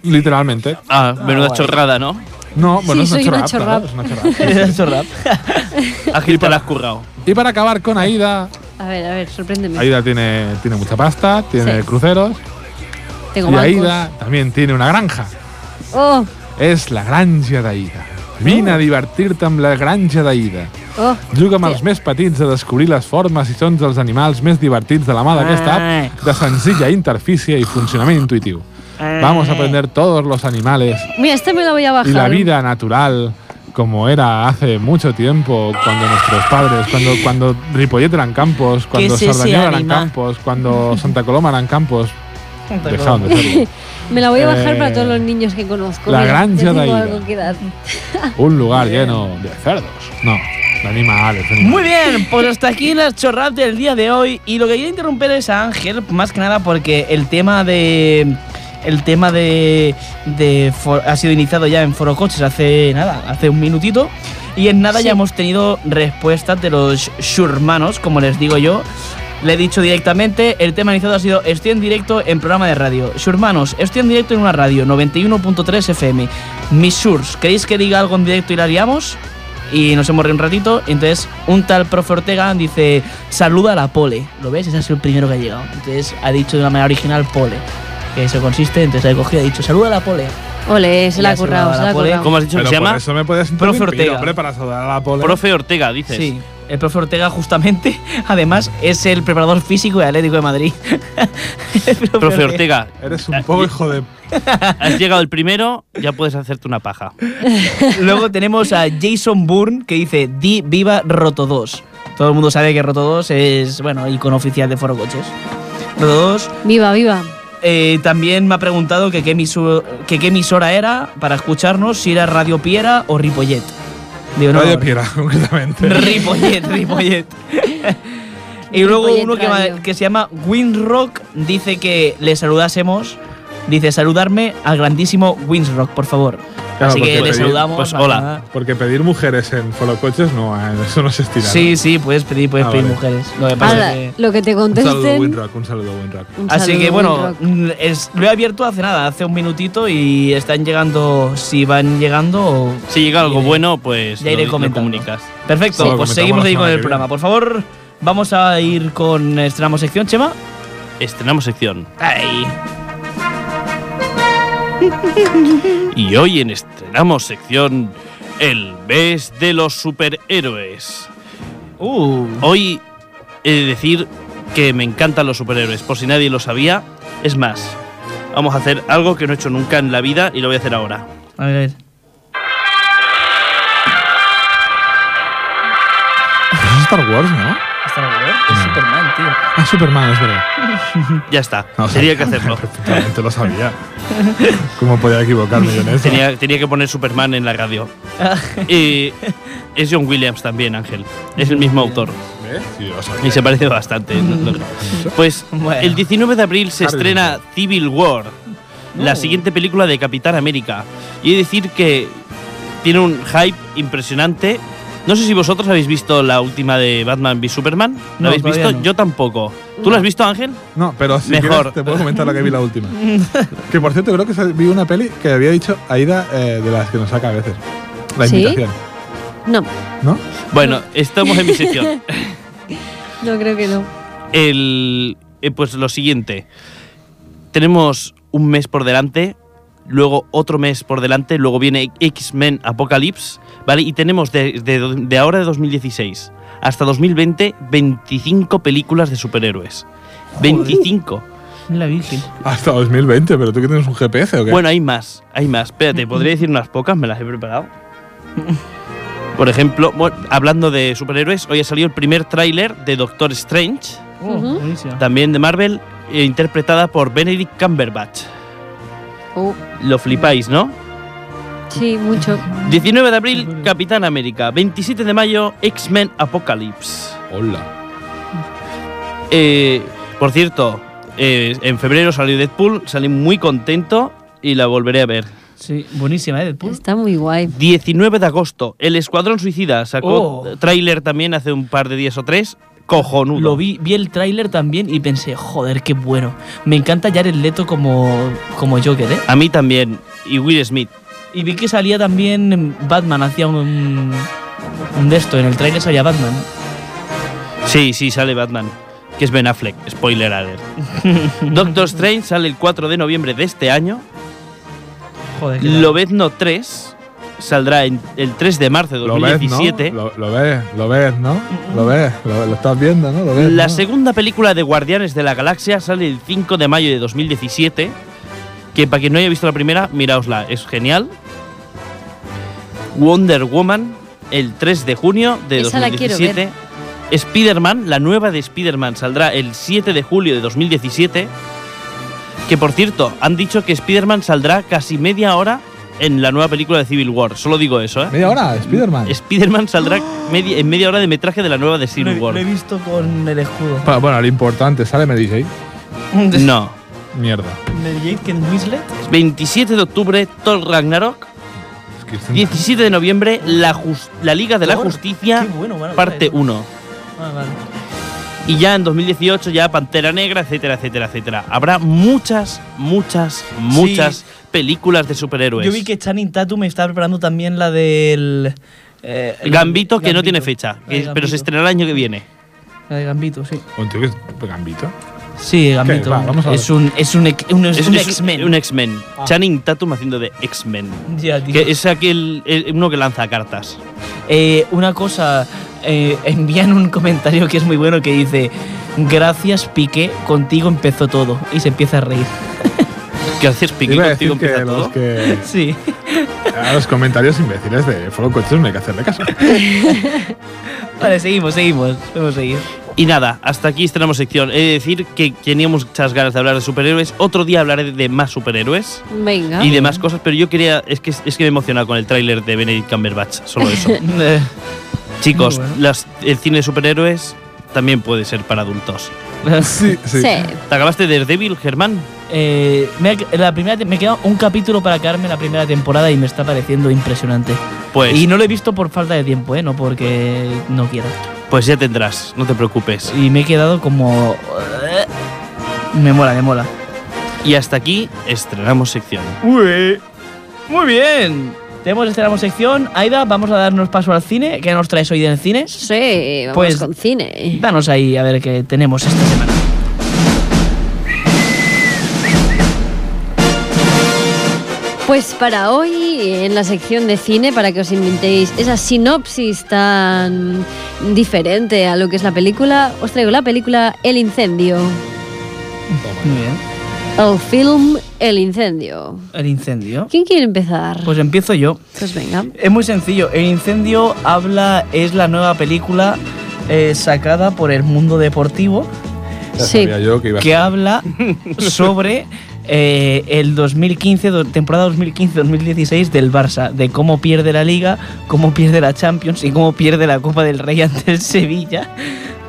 Speaker 3: literalmente.
Speaker 4: Ah, menuda
Speaker 1: guay.
Speaker 4: chorrada, ¿no?
Speaker 3: No, bueno,
Speaker 2: soy
Speaker 3: es
Speaker 2: una
Speaker 3: una chorrada,
Speaker 2: chorrada.
Speaker 3: claro, es una chorrada.
Speaker 1: Eres el chorrap.
Speaker 4: Ágil te la has currado.
Speaker 3: Y para acabar con Aida,
Speaker 2: A ver, a ver, sorpréndeme.
Speaker 3: Aida tiene, tiene mucha pasta, tiene
Speaker 2: Sí.
Speaker 3: cruceros.
Speaker 2: Tengo
Speaker 3: Y
Speaker 2: bancos.
Speaker 3: Aida también tiene una granja.
Speaker 2: Oh,
Speaker 3: Es la granja d'Aida. Vine a divertir-te amb la granja d'Aida.
Speaker 2: oh.
Speaker 3: Juga amb els més petits a descobrir les formes i sons dels animals més divertits de la mà d'aquesta app de senzilla interfície i funcionament intuitiu. Vamos a aprender todos los animales
Speaker 2: Mira, este me lo voy a bajar.
Speaker 3: y la vida natural como era hace mucho tiempo cuando nuestros padres, cuando, cuando Ripollet eran campos, cuando
Speaker 1: es ese
Speaker 3: Sardañola eran
Speaker 1: animal?
Speaker 3: campos, cuando Santa Coloma eran campos, dejaron de serlo.
Speaker 2: Me la voy a bajar
Speaker 3: Eh,
Speaker 2: para todos los niños que conozco.
Speaker 3: la
Speaker 2: Mira,
Speaker 3: granja
Speaker 2: ya
Speaker 3: de
Speaker 2: tengo
Speaker 3: Aida.
Speaker 2: algo que dar.
Speaker 3: Un lugar lleno de cerdos. No, de animales. de
Speaker 1: Muy
Speaker 3: animales.
Speaker 1: bien, pues hasta aquí las chorradas del día de hoy. Y lo que quiero interrumpir es a Ángel, más que nada porque el tema de. El tema de. de for- ha sido iniciado ya en Foro Coches hace nada, hace un minutito. Y en nada
Speaker 2: Sí.
Speaker 1: ya hemos tenido respuestas de los shurmanos, como les digo yo. Le he dicho directamente, el tema iniciado ha sido Estoy en directo en programa de radio. Shurmanos, estoy en directo en una radio, 91.3 FM. Mis shurs, ¿queréis que diga algo en directo y la liamos? y nos hemos reído un ratito. Entonces, un tal profe Ortega dice: Saluda a la pole. ¿Lo ves? Ese es el primero que ha llegado. Entonces, ha dicho de una manera original pole. Que eso consiste, entonces la he cogido y ha dicho: Saluda a la pole.
Speaker 2: Ole, se la
Speaker 1: Ya
Speaker 2: ha
Speaker 1: se me
Speaker 2: currado,
Speaker 1: va
Speaker 2: se
Speaker 1: la
Speaker 2: la ha
Speaker 1: pole.
Speaker 2: currado.
Speaker 4: ¿Cómo has dicho
Speaker 3: Pero
Speaker 4: que se
Speaker 3: por
Speaker 4: llama?
Speaker 3: eso me puedes
Speaker 1: Profe
Speaker 3: interrumpir,
Speaker 1: Ortega.
Speaker 3: hombre, para saludar a la pole.
Speaker 4: Profe Ortega, dices.
Speaker 1: Sí. El profe Ortega, justamente, además, es el preparador físico de Atlético de Madrid. El
Speaker 4: Profe Ortega,
Speaker 3: Eres un poco hijo de...
Speaker 4: has llegado el primero, ya puedes hacerte una paja.
Speaker 1: Luego tenemos a Jason Bourne que dice: Di viva Roto 2. Todo el mundo sabe que Roto 2 es, bueno, icono oficial de Foro Coches. Roto 2
Speaker 2: Viva, viva.
Speaker 1: Eh, también me ha preguntado que qué, emiso- que qué emisora era para escucharnos, si era Radio Piera o Ripollet. Digo, no,
Speaker 3: Radio Piera, concretamente.
Speaker 1: Ripollet, Ripollet. y luego
Speaker 2: Ripollet
Speaker 1: uno que, ma-
Speaker 2: Radio.
Speaker 1: que se llama Windrock dice que le saludásemos. Dice, saludarme al grandísimo Windrock, por favor.
Speaker 3: Claro,
Speaker 1: Así
Speaker 3: porque
Speaker 1: que le
Speaker 3: pedir-
Speaker 1: saludamos.
Speaker 4: pues,
Speaker 1: más
Speaker 4: hola.
Speaker 1: que nada.
Speaker 3: Porque pedir mujeres en folocoches no, eh, eso no se estira.
Speaker 1: Sí, sí, puedes pedir, puedes
Speaker 3: Ah,
Speaker 1: pedir
Speaker 3: vale.
Speaker 1: mujeres. Lo que pasa
Speaker 2: Ahora,
Speaker 1: es que-
Speaker 2: lo que te
Speaker 3: Un saludo
Speaker 2: contesten.
Speaker 3: Winrock, un saludo Winrock.
Speaker 2: un
Speaker 1: Así
Speaker 2: saludo,
Speaker 1: que bueno,
Speaker 2: Winrock.
Speaker 1: mm, es- lo he abierto hace nada, hace un minutito y están llegando, si van llegando... o-
Speaker 4: Si llega algo bueno, pues
Speaker 1: Ya
Speaker 4: lo-
Speaker 1: iré
Speaker 4: lo
Speaker 1: comentando.
Speaker 4: comunicas.
Speaker 1: Perfecto,
Speaker 3: Sí, lo
Speaker 1: pues
Speaker 3: comentamos
Speaker 1: seguimos
Speaker 3: la
Speaker 1: ahí con
Speaker 3: semana
Speaker 1: el
Speaker 3: que
Speaker 1: programa.
Speaker 3: viene.
Speaker 1: Por favor, vamos a ir con... Estrenamos sección, Chema.
Speaker 4: Estrenamos sección.
Speaker 1: Ahí.
Speaker 4: Y hoy en Estrenamos sección, el mes de los superhéroes.
Speaker 1: Uh,
Speaker 4: Hoy he de decir que me encantan los superhéroes, por si nadie lo sabía. Es más, vamos a hacer algo que no he hecho nunca en la vida y lo voy a hacer ahora.
Speaker 1: a ver, a ver.
Speaker 3: Es Star Wars, ¿no?
Speaker 1: Hasta luego, ¿eh? es
Speaker 3: Mm.
Speaker 1: Superman, tío.
Speaker 3: Ah, Superman, es verdad.
Speaker 4: Ya está,
Speaker 3: No,
Speaker 4: tenía
Speaker 3: sabía.
Speaker 4: que hacerlo.
Speaker 3: Perfectamente lo sabía. ¿Cómo podía equivocarme yo en eso?
Speaker 4: Tenía, tenía que poner Superman en la radio. Y es John Williams también, Ángel. Es el mismo autor.
Speaker 3: ¿Eh? Sí, lo sabía.
Speaker 4: Y se parece bastante. ¿no? No. Pues
Speaker 1: Mm. Bueno.
Speaker 4: el 19 de abril se
Speaker 3: Harry.
Speaker 4: estrena Civil War, la
Speaker 1: No.
Speaker 4: siguiente película de Capitán América. Y he de decir que tiene un hype impresionante. No sé si vosotros habéis visto la última de Batman v Superman. ¿La
Speaker 1: No,
Speaker 4: habéis
Speaker 1: todavía
Speaker 4: visto?
Speaker 1: no.
Speaker 4: Yo tampoco. ¿Tú la has visto, Ángel?
Speaker 3: No, pero si
Speaker 4: Mejor.
Speaker 3: quieres te puedo comentar lo que vi la última. que por cierto, creo que se- vi una peli que había dicho Aida eh, de las que nos saca a veces. La
Speaker 2: ¿Sí?
Speaker 3: invitación.
Speaker 2: No,
Speaker 3: ¿No?
Speaker 4: Bueno, estamos en mi sección.
Speaker 2: no creo que no.
Speaker 4: El, eh, pues lo siguiente. Tenemos un mes por delante, luego otro mes por delante, luego viene X-Men Apocalypse, ¿vale? Y tenemos de, de- de ahora de 2016 hasta 2020 25 películas de superhéroes. 25.
Speaker 1: La Virgen.
Speaker 3: Hasta 2020, pero tú que tienes un GPS o qué?
Speaker 4: Bueno, hay más, hay más. Espérate, podría decir unas pocas, me las he preparado. Por ejemplo, bueno, hablando de superhéroes, hoy ha salido el primer tráiler de Doctor Strange.
Speaker 1: Oh,
Speaker 2: Ujú.
Speaker 1: buenísima.
Speaker 4: también de Marvel eh, interpretada por Benedict Cumberbatch.
Speaker 2: Oh,
Speaker 4: Lo flipáis, ¿no?
Speaker 2: sí, mucho.
Speaker 4: 19 de abril, Capitán América. 27 de mayo, X-Men Apocalypse.
Speaker 3: Hola.
Speaker 4: Eh, por cierto, eh, en febrero salió Deadpool, salí muy contento y la volveré a ver.
Speaker 1: Sí, buenísima, ¿eh? Deadpool.
Speaker 2: Está muy guay.
Speaker 4: 19 de agosto, El Escuadrón Suicida sacó
Speaker 1: Oh.
Speaker 4: tráiler también hace un par de días o tres. Cojonudo.
Speaker 1: Lo vi, vi el tráiler también y pensé, joder, qué bueno. Me encanta Jared Leto como, como Joker, ¿eh?
Speaker 4: A mí también. Y Will Smith.
Speaker 1: Y vi que salía también Batman, hacía un, un de esto, en el tráiler salía Batman.
Speaker 4: Sí, sí, sale Batman. Que es Ben Affleck. Spoiler alert. Doctor Strange sale el 4 de noviembre de este año.
Speaker 1: Joder, qué tal.
Speaker 4: Lobezno 3 saldrá en- el 3 de marzo de
Speaker 3: Lo ves, ¿no?
Speaker 4: 2017.
Speaker 3: Lo, lo ves, lo ves, ¿no? Lo ves, lo, lo estás viendo, ¿no? Lo ves,
Speaker 4: La
Speaker 3: ¿no?
Speaker 4: segunda película de Guardianes de la Galaxia sale el 5 de mayo de 2017. Que para quien no haya visto la primera, miraosla, es genial. Wonder Woman, el 3 de junio de
Speaker 2: Esa la quiero
Speaker 4: 2017. Spider-Man, la nueva de Spider-Man, saldrá el 7 de julio de 2017. Que por cierto, han dicho que Spider-Man saldrá casi media hora en la nueva película de Civil War. Solo digo eso, ¿eh?
Speaker 3: Media hora, Spider-Man.
Speaker 4: Spider-Man saldrá media- en media hora de metraje de la nueva de Civil
Speaker 1: Lo he-
Speaker 4: War.
Speaker 1: Lo he visto con el escudo.
Speaker 3: Pa- Bueno, lo importante, sale Mary Jane.
Speaker 4: No.
Speaker 3: Mierda.
Speaker 1: Mary Jane Kent Winslet.
Speaker 4: 27 de octubre, Thor Ragnarok.
Speaker 3: Es que estoy-
Speaker 4: 17 de noviembre, La, Jus- la Liga de la
Speaker 1: Thor,
Speaker 4: Justicia,
Speaker 1: qué bueno, vale,
Speaker 4: parte
Speaker 1: vale.
Speaker 4: 1.
Speaker 1: Ah, vale.
Speaker 4: Y ya en 2018, ya Pantera Negra, etcétera, etcétera, etcétera. Habrá muchas, muchas, muchas películas de superhéroes.
Speaker 1: Yo vi que Channing Tatum me está preparando también la del. eh,
Speaker 4: Gambito, que no tiene
Speaker 1: Gambito.
Speaker 4: fecha,
Speaker 1: La
Speaker 4: que-
Speaker 1: de
Speaker 4: pero se
Speaker 1: Gambito.
Speaker 4: estrenará el año que viene.
Speaker 1: La de Gambito, sí.
Speaker 3: Un tío que es gambito.
Speaker 1: Sí, Gambito.
Speaker 3: Va, vamos a ver.
Speaker 1: es un, es un, ex- un- es un X-Men. Ah.
Speaker 4: Un X-Men. Channing Tatum haciendo de X-Men.
Speaker 1: Ya, tío.
Speaker 4: Que es aquel, eh, uno que lanza cartas.
Speaker 1: Eh, una cosa, eh, envían un comentario que es muy bueno que dice: Gracias, Piqué, contigo empezó todo. Y se empieza a reír.
Speaker 4: Que haces piquito,
Speaker 3: Iba a
Speaker 4: tío,
Speaker 3: decir que
Speaker 4: empieza
Speaker 3: los,
Speaker 4: todo.
Speaker 3: que
Speaker 1: Sí.
Speaker 3: a los comentarios imbéciles de Follow Coches no hay que hacerle caso.
Speaker 1: Vale, seguimos, seguimos. Vamos a seguir.
Speaker 4: Y nada, hasta aquí tenemos sección. He de decir que teníamos muchas ganas de hablar de superhéroes. Otro día hablaré de más superhéroes
Speaker 2: Venga.
Speaker 4: y de más cosas, pero yo quería. Es que, es que me he emocionado con el tráiler de Benedict Cumberbatch, solo eso.
Speaker 1: Eh,
Speaker 4: Chicos,
Speaker 1: Muy bueno.
Speaker 4: las- el cine de superhéroes también puede ser para adultos.
Speaker 3: Sí, sí.
Speaker 4: ¿Te acabaste de Daredevil, Germán?
Speaker 1: eh, me, ha- la primera, te- me queda un capítulo para quedarme en la primera temporada y me está pareciendo impresionante.
Speaker 4: Pues,
Speaker 1: Y no lo he visto por falta de tiempo, ¿eh? no porque no quiera.
Speaker 4: pues ya tendrás, no te preocupes.
Speaker 1: Y me he quedado como... Me mola, me mola.
Speaker 4: Y hasta aquí estrenamos sección.
Speaker 1: Muy bien. Tenemos estrenamos sección. Aida, vamos a darnos paso al cine. ¿Qué nos traes hoy del cine?
Speaker 2: Sí, vamos
Speaker 1: Pues-
Speaker 2: con cine.
Speaker 1: Danos ahí a ver qué tenemos esta semana.
Speaker 2: Pues para hoy, en la sección de cine, para que os inventéis esa sinopsis tan diferente a lo que es la película, os traigo la película El Incendio.
Speaker 1: Muy bien.
Speaker 2: El film El Incendio.
Speaker 1: El incendio.
Speaker 2: ¿Quién quiere empezar?
Speaker 1: Pues empiezo yo.
Speaker 2: Pues venga.
Speaker 1: Es muy sencillo. El incendio habla es la nueva película eh, sacada por el mundo deportivo
Speaker 3: Ya
Speaker 2: Sí.
Speaker 3: sabía yo que iba a
Speaker 1: que habla sobre eh, el 2015, do- temporada 2015-2016 del Barça, de cómo pierde la Liga, cómo pierde la Champions y cómo pierde la Copa del Rey ante el Sevilla.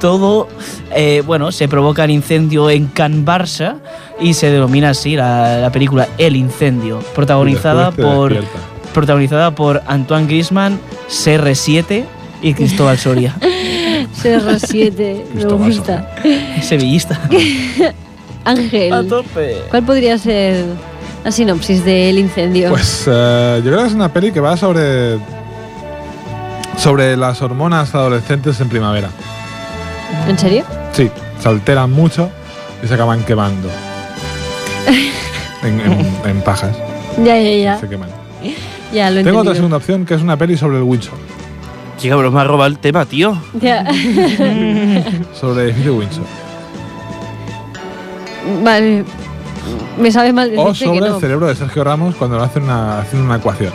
Speaker 1: Todo, eh, bueno, se provoca el incendio en Can Barça y se denomina así la, la película El Incendio, protagonizada
Speaker 3: Después te
Speaker 1: por,
Speaker 3: despierta.
Speaker 1: protagonizada por Antoine Griezmann, CR7 y Cristóbal Soria,
Speaker 2: CR7, me
Speaker 3: Cristóbal
Speaker 2: gusta.
Speaker 1: sevillista.
Speaker 2: Ángel,
Speaker 1: tope.
Speaker 2: ¿cuál podría ser la sinopsis del incendio?
Speaker 3: Pues eh, yo creo que es una peli que va sobre. sobre las hormonas adolescentes en primavera.
Speaker 2: ¿En serio?
Speaker 3: Sí, se alteran mucho y se acaban quemando. en, en- en pajas.
Speaker 2: Ya, ya, ya.
Speaker 3: Se queman.
Speaker 2: Ya lo he
Speaker 3: Tengo otra
Speaker 2: entendido.
Speaker 3: segunda opción que es una peli sobre el Windsor.
Speaker 4: Qué cabrón, me ha robado el tema, tío.
Speaker 2: Ya.
Speaker 3: Sobre el edificio Windsor.
Speaker 2: Vale. Me sabe mal
Speaker 3: O
Speaker 2: decirte que
Speaker 3: Oh, sobre
Speaker 2: no.
Speaker 3: el cerebro de Sergio Ramos cuando lo hacen una, haciendo una ecuación.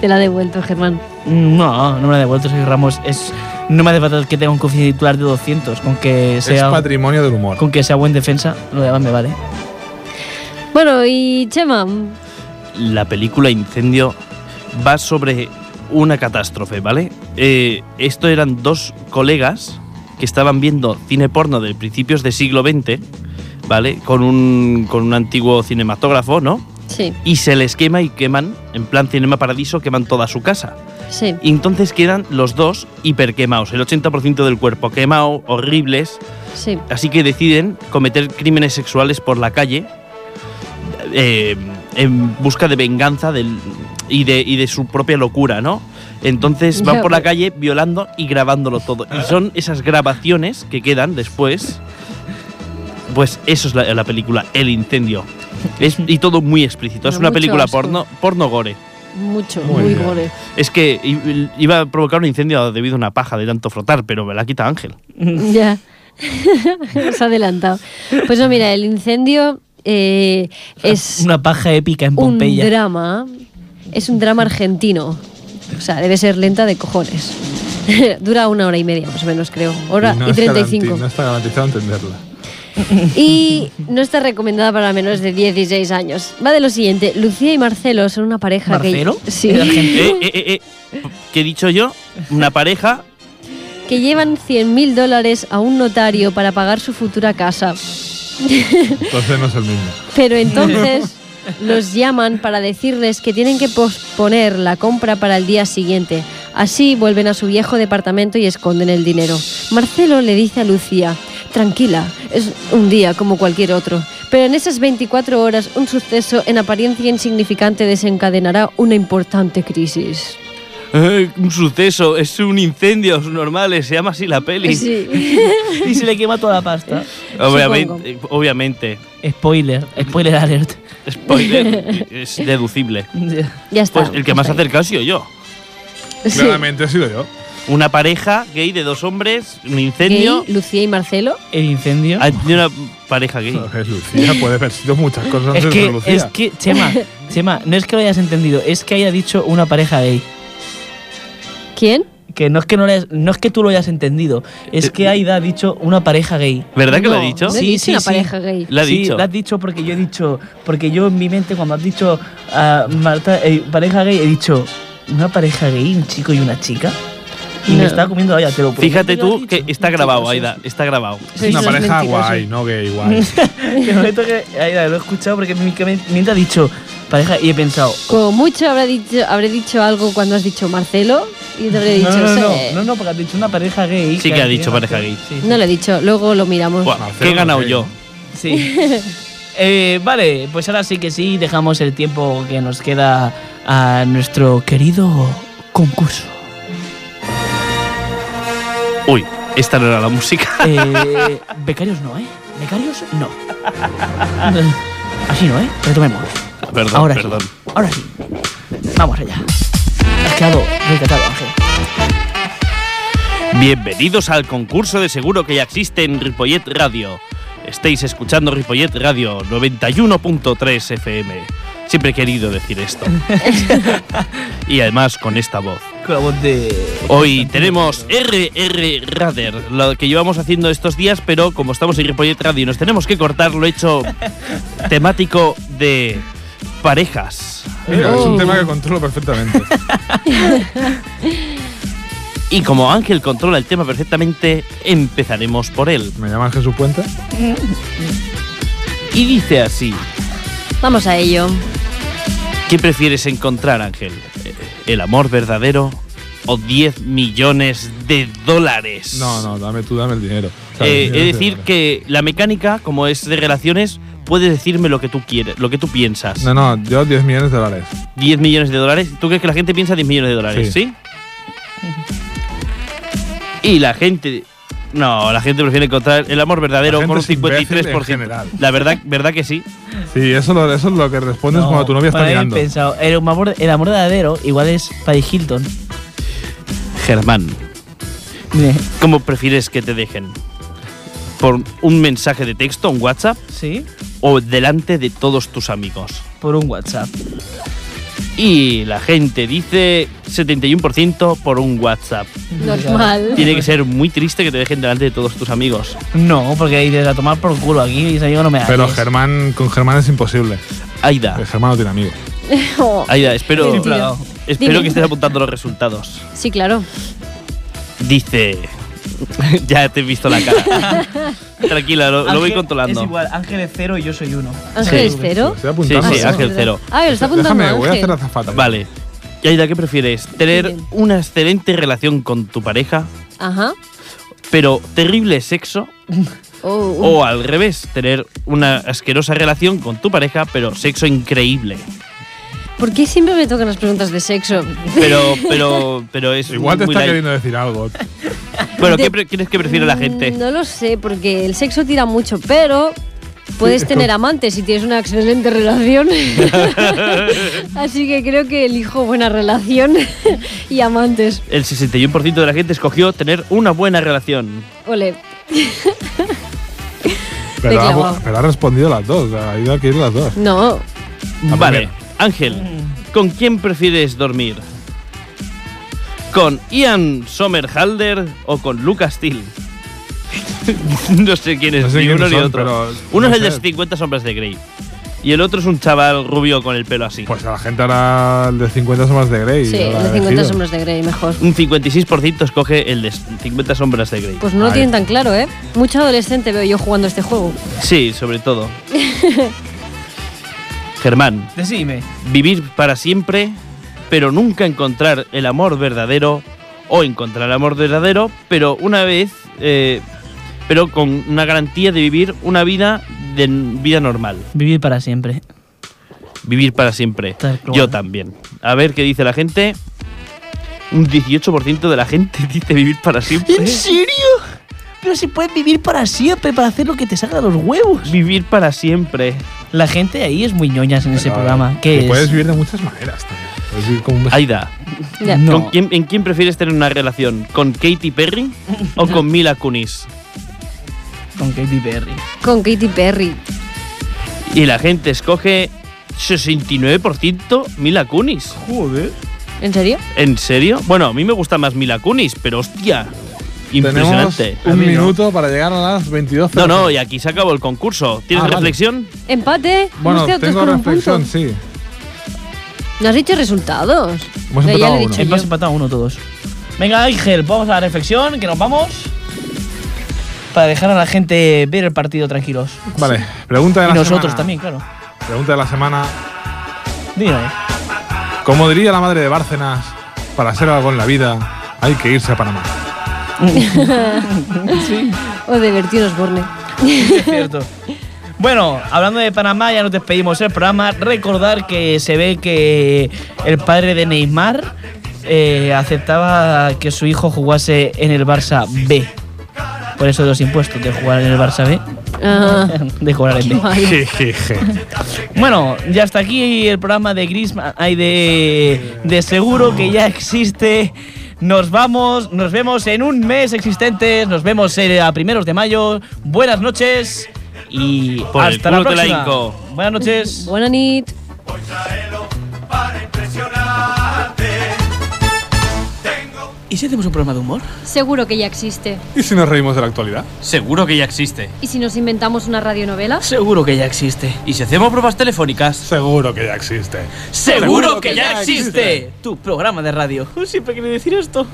Speaker 2: Te la ha devuelto, Germán.
Speaker 1: No, no me la he devuelto, soy Ramos. Es, No me hace falta que tenga un coeficiente titular de 200, con que
Speaker 3: es
Speaker 1: sea,
Speaker 3: patrimonio del humor.
Speaker 1: con que sea buen defensa, lo demás me vale.
Speaker 2: Bueno, y Chema,
Speaker 4: la película Incendio va sobre una catástrofe, ¿vale? Eh, esto eran dos colegas que estaban viendo cine porno de principios del siglo XX, ¿vale? Con un, con un antiguo cinematógrafo, ¿no?
Speaker 2: sí,
Speaker 4: Y se les quema y queman, en plan Cinema Paradiso, queman toda su casa.
Speaker 2: sí.
Speaker 4: Y entonces quedan los dos hiperquemados, el 80% del cuerpo quemado, horribles,
Speaker 2: Sí.
Speaker 4: Así que deciden cometer crímenes sexuales por la calle eh, en busca de venganza del- y, de, y de su propia locura, ¿no? Entonces van
Speaker 2: Ya,
Speaker 4: por la
Speaker 2: pero-
Speaker 4: calle violando y grabándolo todo. Y son esas grabaciones que quedan después. Pues eso es la, la película, El Incendio. Es, y todo muy explícito. Es
Speaker 2: Da
Speaker 4: una
Speaker 2: mucho
Speaker 4: película
Speaker 2: asco.
Speaker 4: porno, porno gore.
Speaker 2: Mucho,
Speaker 3: Muy
Speaker 2: muy
Speaker 3: bien.
Speaker 2: gore.
Speaker 4: Es que i- iba a provocar un incendio debido a una paja de tanto frotar, pero me la quita Ángel.
Speaker 2: Ya. Os ha adelantado. Pues no, mira, el incendio eh, es
Speaker 1: Una paja épica en
Speaker 2: un
Speaker 1: Pompeya.
Speaker 2: drama. Es un drama argentino. O sea, debe ser lenta de cojones. Dura una hora y media, más o menos, creo. Hora
Speaker 3: no
Speaker 2: y
Speaker 3: está garanti-
Speaker 2: 35.
Speaker 3: No está garantizado entenderla.
Speaker 2: Y no está recomendada para menores de 16 años. Va de lo siguiente. Lucía y Marcelo son una pareja
Speaker 1: ¿Marcelo?
Speaker 2: que... Sí.
Speaker 1: ¿Era argentino?
Speaker 4: Eh, eh, eh, eh. ¿Qué he dicho yo? Una pareja
Speaker 2: que llevan 100.000 dólares a un notario para pagar su futura casa.
Speaker 3: Entonces no es el mismo.
Speaker 2: Pero entonces los llaman para decirles que tienen que posponer la compra para el día siguiente. Así vuelven a su viejo departamento y esconden el dinero. Marcelo le dice a Lucía, tranquila, es un día como cualquier otro. Pero en esas 24 horas un suceso en apariencia insignificante desencadenará una importante crisis.
Speaker 4: Eh, un suceso, es un incendio, es normal, eh, se llama así la peli.
Speaker 1: Y se le quema toda la pasta.
Speaker 4: Obviamente, eh, obviamente.
Speaker 1: Spoiler, spoiler alert.
Speaker 4: Spoiler, es deducible.
Speaker 2: Ya está.
Speaker 4: Pues el que más
Speaker 2: Hasta ahí.
Speaker 4: acercado ha sido yo.
Speaker 2: Sí.
Speaker 3: Claramente he sido yo.
Speaker 4: Una pareja gay de dos hombres, un
Speaker 2: Gay,
Speaker 4: incendio.
Speaker 2: Lucía y Marcelo.
Speaker 1: El incendio.
Speaker 4: Ah, De una pareja gay.
Speaker 3: A ver, Lucía puede haber sido muchas cosas
Speaker 1: Es
Speaker 3: antes de
Speaker 1: que,
Speaker 3: Lucía.
Speaker 1: es que, Chema, Chema, no es que lo hayas entendido, es que haya dicho una pareja gay.
Speaker 2: ¿Quién?
Speaker 1: Que no es que, no lo hayas- no es que tú lo hayas entendido,
Speaker 3: Eh,
Speaker 1: es que Aida ha dicho una pareja gay.
Speaker 4: ¿Verdad que lo
Speaker 2: No,
Speaker 4: he dicho?
Speaker 2: no he
Speaker 1: Sí,
Speaker 2: dicho
Speaker 1: sí,
Speaker 2: una
Speaker 1: sí.
Speaker 2: pareja gay.
Speaker 4: La ha
Speaker 1: sí,
Speaker 4: dicho.
Speaker 1: lo has dicho porque yo he dicho, porque yo en mi mente cuando has dicho ah, Marta, eh, pareja gay, he dicho una pareja gay, un chico y una chica. Y
Speaker 2: No.
Speaker 1: me está comiendo Aida, te lo prometo
Speaker 4: Fíjate
Speaker 1: que lo has
Speaker 4: tú que
Speaker 1: dicho.
Speaker 4: está grabado, Aida, está grabado.
Speaker 3: Es una
Speaker 2: Sí, es
Speaker 3: pareja
Speaker 2: mentiroso.
Speaker 3: guay, no gay, guay.
Speaker 1: Te prometo que Aida, lo he escuchado porque mi mi mente ha dicho pareja y he pensado.
Speaker 2: Como mucho habrá dicho, habré dicho algo cuando has dicho Marcelo y te habré dicho.
Speaker 1: no, no, no,
Speaker 2: "Sí". eh,
Speaker 1: no, no, porque has dicho una pareja gay.
Speaker 4: Sí que ha dicho pareja gay.
Speaker 1: Sí, sí.
Speaker 2: No lo he dicho, luego lo miramos.
Speaker 4: Buah,
Speaker 3: Marcelo
Speaker 4: ¿Qué he ganado
Speaker 3: gay.
Speaker 4: yo?
Speaker 1: Sí. Eh, vale, pues ahora sí que sí, dejamos el tiempo que nos queda a nuestro querido concurso.
Speaker 4: Uy, esta no era la música.
Speaker 1: Eh, becarios no, ¿eh? Becarios no. Así no, ¿eh? Retomemos.
Speaker 4: Perdón,
Speaker 1: Ahora
Speaker 4: perdón.
Speaker 1: sí. Ahora sí. Vamos allá. Has quedado recatado, Ángel.
Speaker 4: Bienvenidos al concurso de seguro que ya existe en Ripollet Radio. Estáis escuchando Ripollet Radio 91.3 FM. Siempre he querido decir esto. y además con esta voz.
Speaker 1: Con la voz de.
Speaker 4: Hoy tenemos RR Radar, lo que llevamos haciendo estos días, pero como estamos en Ripollet Radio y nos tenemos que cortar, lo he hecho temático de parejas.
Speaker 3: Mira, es un
Speaker 2: Oh.
Speaker 3: tema que controlo perfectamente.
Speaker 4: Y como Ángel controla el tema perfectamente, empezaremos por él.
Speaker 3: Me llaman Jesús Puente.
Speaker 4: Y dice así.
Speaker 2: Vamos a ello.
Speaker 4: ¿Qué prefieres encontrar, Ángel? ¿El amor verdadero o 10 millones de dólares?
Speaker 3: No, no, dame tú, dame el dinero.
Speaker 4: Eh,
Speaker 3: ¿Sabes?
Speaker 4: es decir, que la mecánica, como es de relaciones, puedes decirme lo que tú quieres, lo que tú piensas.
Speaker 3: No, no, yo 10 millones de dólares.
Speaker 4: 10 millones de dólares. ¿Tú crees que la gente piensa 10 millones de dólares? Sí. Y la gente. No, la gente prefiere encontrar el amor verdadero
Speaker 3: La
Speaker 4: con un
Speaker 3: gente es imbécil en
Speaker 4: 53%.
Speaker 3: general.
Speaker 4: La verdad, verdad que sí.
Speaker 3: Sí, eso, lo- eso es lo que respondes cuando tu novia está
Speaker 1: para haber
Speaker 3: mirando.
Speaker 1: pensado, el amor, el amor verdadero igual es Paddy Hilton.
Speaker 4: Germán, ¿cómo prefieres que te dejen? ¿Por un mensaje de texto, un WhatsApp
Speaker 1: ¿Sí?
Speaker 4: o delante de todos tus amigos?
Speaker 1: Por un WhatsApp.
Speaker 4: Y la gente dice 71% por un WhatsApp.
Speaker 2: Normal.
Speaker 4: Tiene que ser muy triste que te dejen delante de todos tus amigos.
Speaker 1: No, porque dices a tomar por culo aquí y ese amigo no me haces.
Speaker 3: Pero Germán, con Germán es imposible.
Speaker 4: Aida,
Speaker 3: El Germán no tiene amigos.
Speaker 2: Oh.
Speaker 4: Aida, espero,
Speaker 1: Estoy plagado.
Speaker 4: espero
Speaker 2: Dime.
Speaker 4: que estés apuntando los resultados.
Speaker 2: Sí, claro.
Speaker 4: Dice. ya te he visto la cara. Tranquila, lo, lo voy
Speaker 1: Ángel
Speaker 4: controlando.
Speaker 1: Es igual, Ángel es cero y yo soy uno.
Speaker 2: Ángel
Speaker 4: Sí.
Speaker 2: cero.
Speaker 3: Estoy apuntando.
Speaker 4: Sí,
Speaker 2: Ah,
Speaker 4: Ángel
Speaker 2: ¿verdad?
Speaker 4: cero.
Speaker 2: Ah, lo está apuntando
Speaker 3: Déjame, voy a
Speaker 2: Ángel.
Speaker 3: hacer azafata.
Speaker 4: Vale. Y Aida, ¿qué prefieres? ¿Tener
Speaker 2: Dime.
Speaker 4: una excelente relación con tu pareja,
Speaker 2: Ajá.
Speaker 4: pero terrible sexo?
Speaker 2: Oh, uh.
Speaker 4: O al revés, tener una asquerosa relación con tu pareja, pero sexo increíble.
Speaker 2: uh, ¿Por qué siempre me tocan las preguntas de sexo?
Speaker 4: Pero, pero, pero es
Speaker 3: Igual te
Speaker 4: muy
Speaker 3: está
Speaker 4: light.
Speaker 3: queriendo decir algo.
Speaker 4: Bueno, ¿qué pre- crees que prefiere la
Speaker 2: Mm,
Speaker 4: gente?
Speaker 2: No lo sé, porque el sexo tira mucho, pero puedes tener amantes si tienes una excelente relación. Así que creo que elijo buena relación y amantes.
Speaker 4: El 61% de la gente escogió tener una buena relación.
Speaker 2: Ole.
Speaker 3: Pero ha,
Speaker 2: clavado.
Speaker 3: pero ha respondido las dos. Ha ido a querer las dos.
Speaker 2: No.
Speaker 3: La
Speaker 4: Vale,
Speaker 3: primera.
Speaker 4: Ángel,
Speaker 2: Mm.
Speaker 4: ¿con quién prefieres dormir? ¿Con Ian Somerhalder o con Lucas Till? no sé quién es
Speaker 3: No sé
Speaker 4: ni
Speaker 3: quiénes
Speaker 4: uno ni
Speaker 3: son,
Speaker 4: otro.
Speaker 3: pero
Speaker 4: Uno
Speaker 3: no
Speaker 4: es el de
Speaker 3: sé.
Speaker 4: 50 sombras de Grey. Y el otro es un chaval rubio con el pelo así.
Speaker 3: Pues a la gente ahora el de 50 sombras de Grey.
Speaker 2: Sí,
Speaker 3: habrá
Speaker 2: el de 50
Speaker 3: elegido.
Speaker 2: sombras de Grey, mejor.
Speaker 4: Un 56% escoge el de 50 sombras de Grey.
Speaker 2: Pues no lo tienen tan claro, ¿eh? Mucho adolescente veo yo jugando este juego.
Speaker 4: Sí, sobre todo. Germán,
Speaker 1: Decime.
Speaker 4: vivir para siempre, pero nunca encontrar el amor verdadero, o encontrar el amor verdadero, pero una vez, eh, pero con una garantía de vivir una vida de n- vida normal.
Speaker 1: Vivir para siempre.
Speaker 4: Vivir para siempre.
Speaker 1: Tal cual.
Speaker 4: Yo también. A ver qué dice la gente. Un 18% de la gente dice vivir para siempre.
Speaker 1: ¿En serio? Pero si puedes vivir para siempre, para hacer lo que te salga de los huevos.
Speaker 4: Vivir para siempre.
Speaker 1: La gente ahí es muy ñoñas en ese
Speaker 3: Pero
Speaker 1: programa. ¿Qué
Speaker 3: que
Speaker 1: es?
Speaker 3: Puedes vivir de muchas maneras también. Puedes vivir como un
Speaker 4: Aida,
Speaker 2: Ya.
Speaker 1: Pues No.
Speaker 4: ¿con quién- ¿en quién prefieres tener una relación? ¿Con Katy Perry o con Mila Kunis?
Speaker 1: Con Katy Perry.
Speaker 2: Con Katy Perry.
Speaker 4: Y la gente escoge 69% Mila Kunis.
Speaker 3: Joder.
Speaker 2: ¿En serio?
Speaker 4: ¿En serio? Bueno, a mí me gusta más Mila Kunis, pero hostia,
Speaker 3: Tenemos
Speaker 4: impresionante.
Speaker 3: un minuto para llegar a las 22.
Speaker 4: No, no, y aquí se acabó el concurso. ¿Tienes
Speaker 3: Ah, vale.
Speaker 4: reflexión?
Speaker 2: Empate.
Speaker 3: Bueno,
Speaker 2: Hemos quedado tres
Speaker 3: tengo
Speaker 2: con un
Speaker 3: reflexión,
Speaker 2: punto.
Speaker 3: sí.
Speaker 2: No has dicho resultados.
Speaker 3: Hemos
Speaker 2: Ya, ya lo
Speaker 3: empatado
Speaker 2: he
Speaker 3: uno.
Speaker 2: dicho yo.
Speaker 1: Hemos empatado uno todos. Venga, Ángel, vamos a la reflexión, que nos vamos. Para dejar a la gente ver el partido tranquilos.
Speaker 3: Vale, pregunta de
Speaker 1: Y
Speaker 3: la
Speaker 1: nosotros
Speaker 3: semana.
Speaker 1: también, claro.
Speaker 3: Pregunta de la semana.
Speaker 1: Dime.
Speaker 3: Como diría la madre de Bárcenas, para ser algo en la vida hay que irse a Panamá.
Speaker 2: O de Bertín Osborne.
Speaker 1: Es cierto. Bueno, hablando de Panamá, ya nos despedimos del programa. Recordar que se ve que el padre de Neymar eh, aceptaba que su hijo jugase en el Barça B. Por eso de los impuestos, de jugar en el Barça B,
Speaker 2: Ah,
Speaker 1: de jugar en B.
Speaker 2: vale.
Speaker 3: Jejeje.
Speaker 1: Bueno, ya hasta aquí el programa de Griezmann. Hay de, de seguro que ya existe. Nos vamos, nos vemos en un mes existentes. Nos vemos eh, a primeros de mayo. Buenas noches y
Speaker 4: Por el
Speaker 1: hasta la
Speaker 4: culo te la
Speaker 1: próxima.
Speaker 4: hinco.
Speaker 1: Buenas noches.
Speaker 2: Buena nit.
Speaker 5: Voy traelo para impresionarte. Tengo
Speaker 1: ¿Y si hacemos un programa de humor?
Speaker 2: Seguro que ya existe.
Speaker 3: ¿Y si nos reímos de la actualidad?
Speaker 6: Seguro que ya existe.
Speaker 2: ¿Y si nos inventamos una radionovela?
Speaker 1: Seguro que ya existe.
Speaker 6: ¿Y si hacemos pruebas telefónicas?
Speaker 3: Seguro que ya existe.
Speaker 6: ¡Seguro que ya existe!
Speaker 1: Tu programa de radio. Siempre quería decir esto.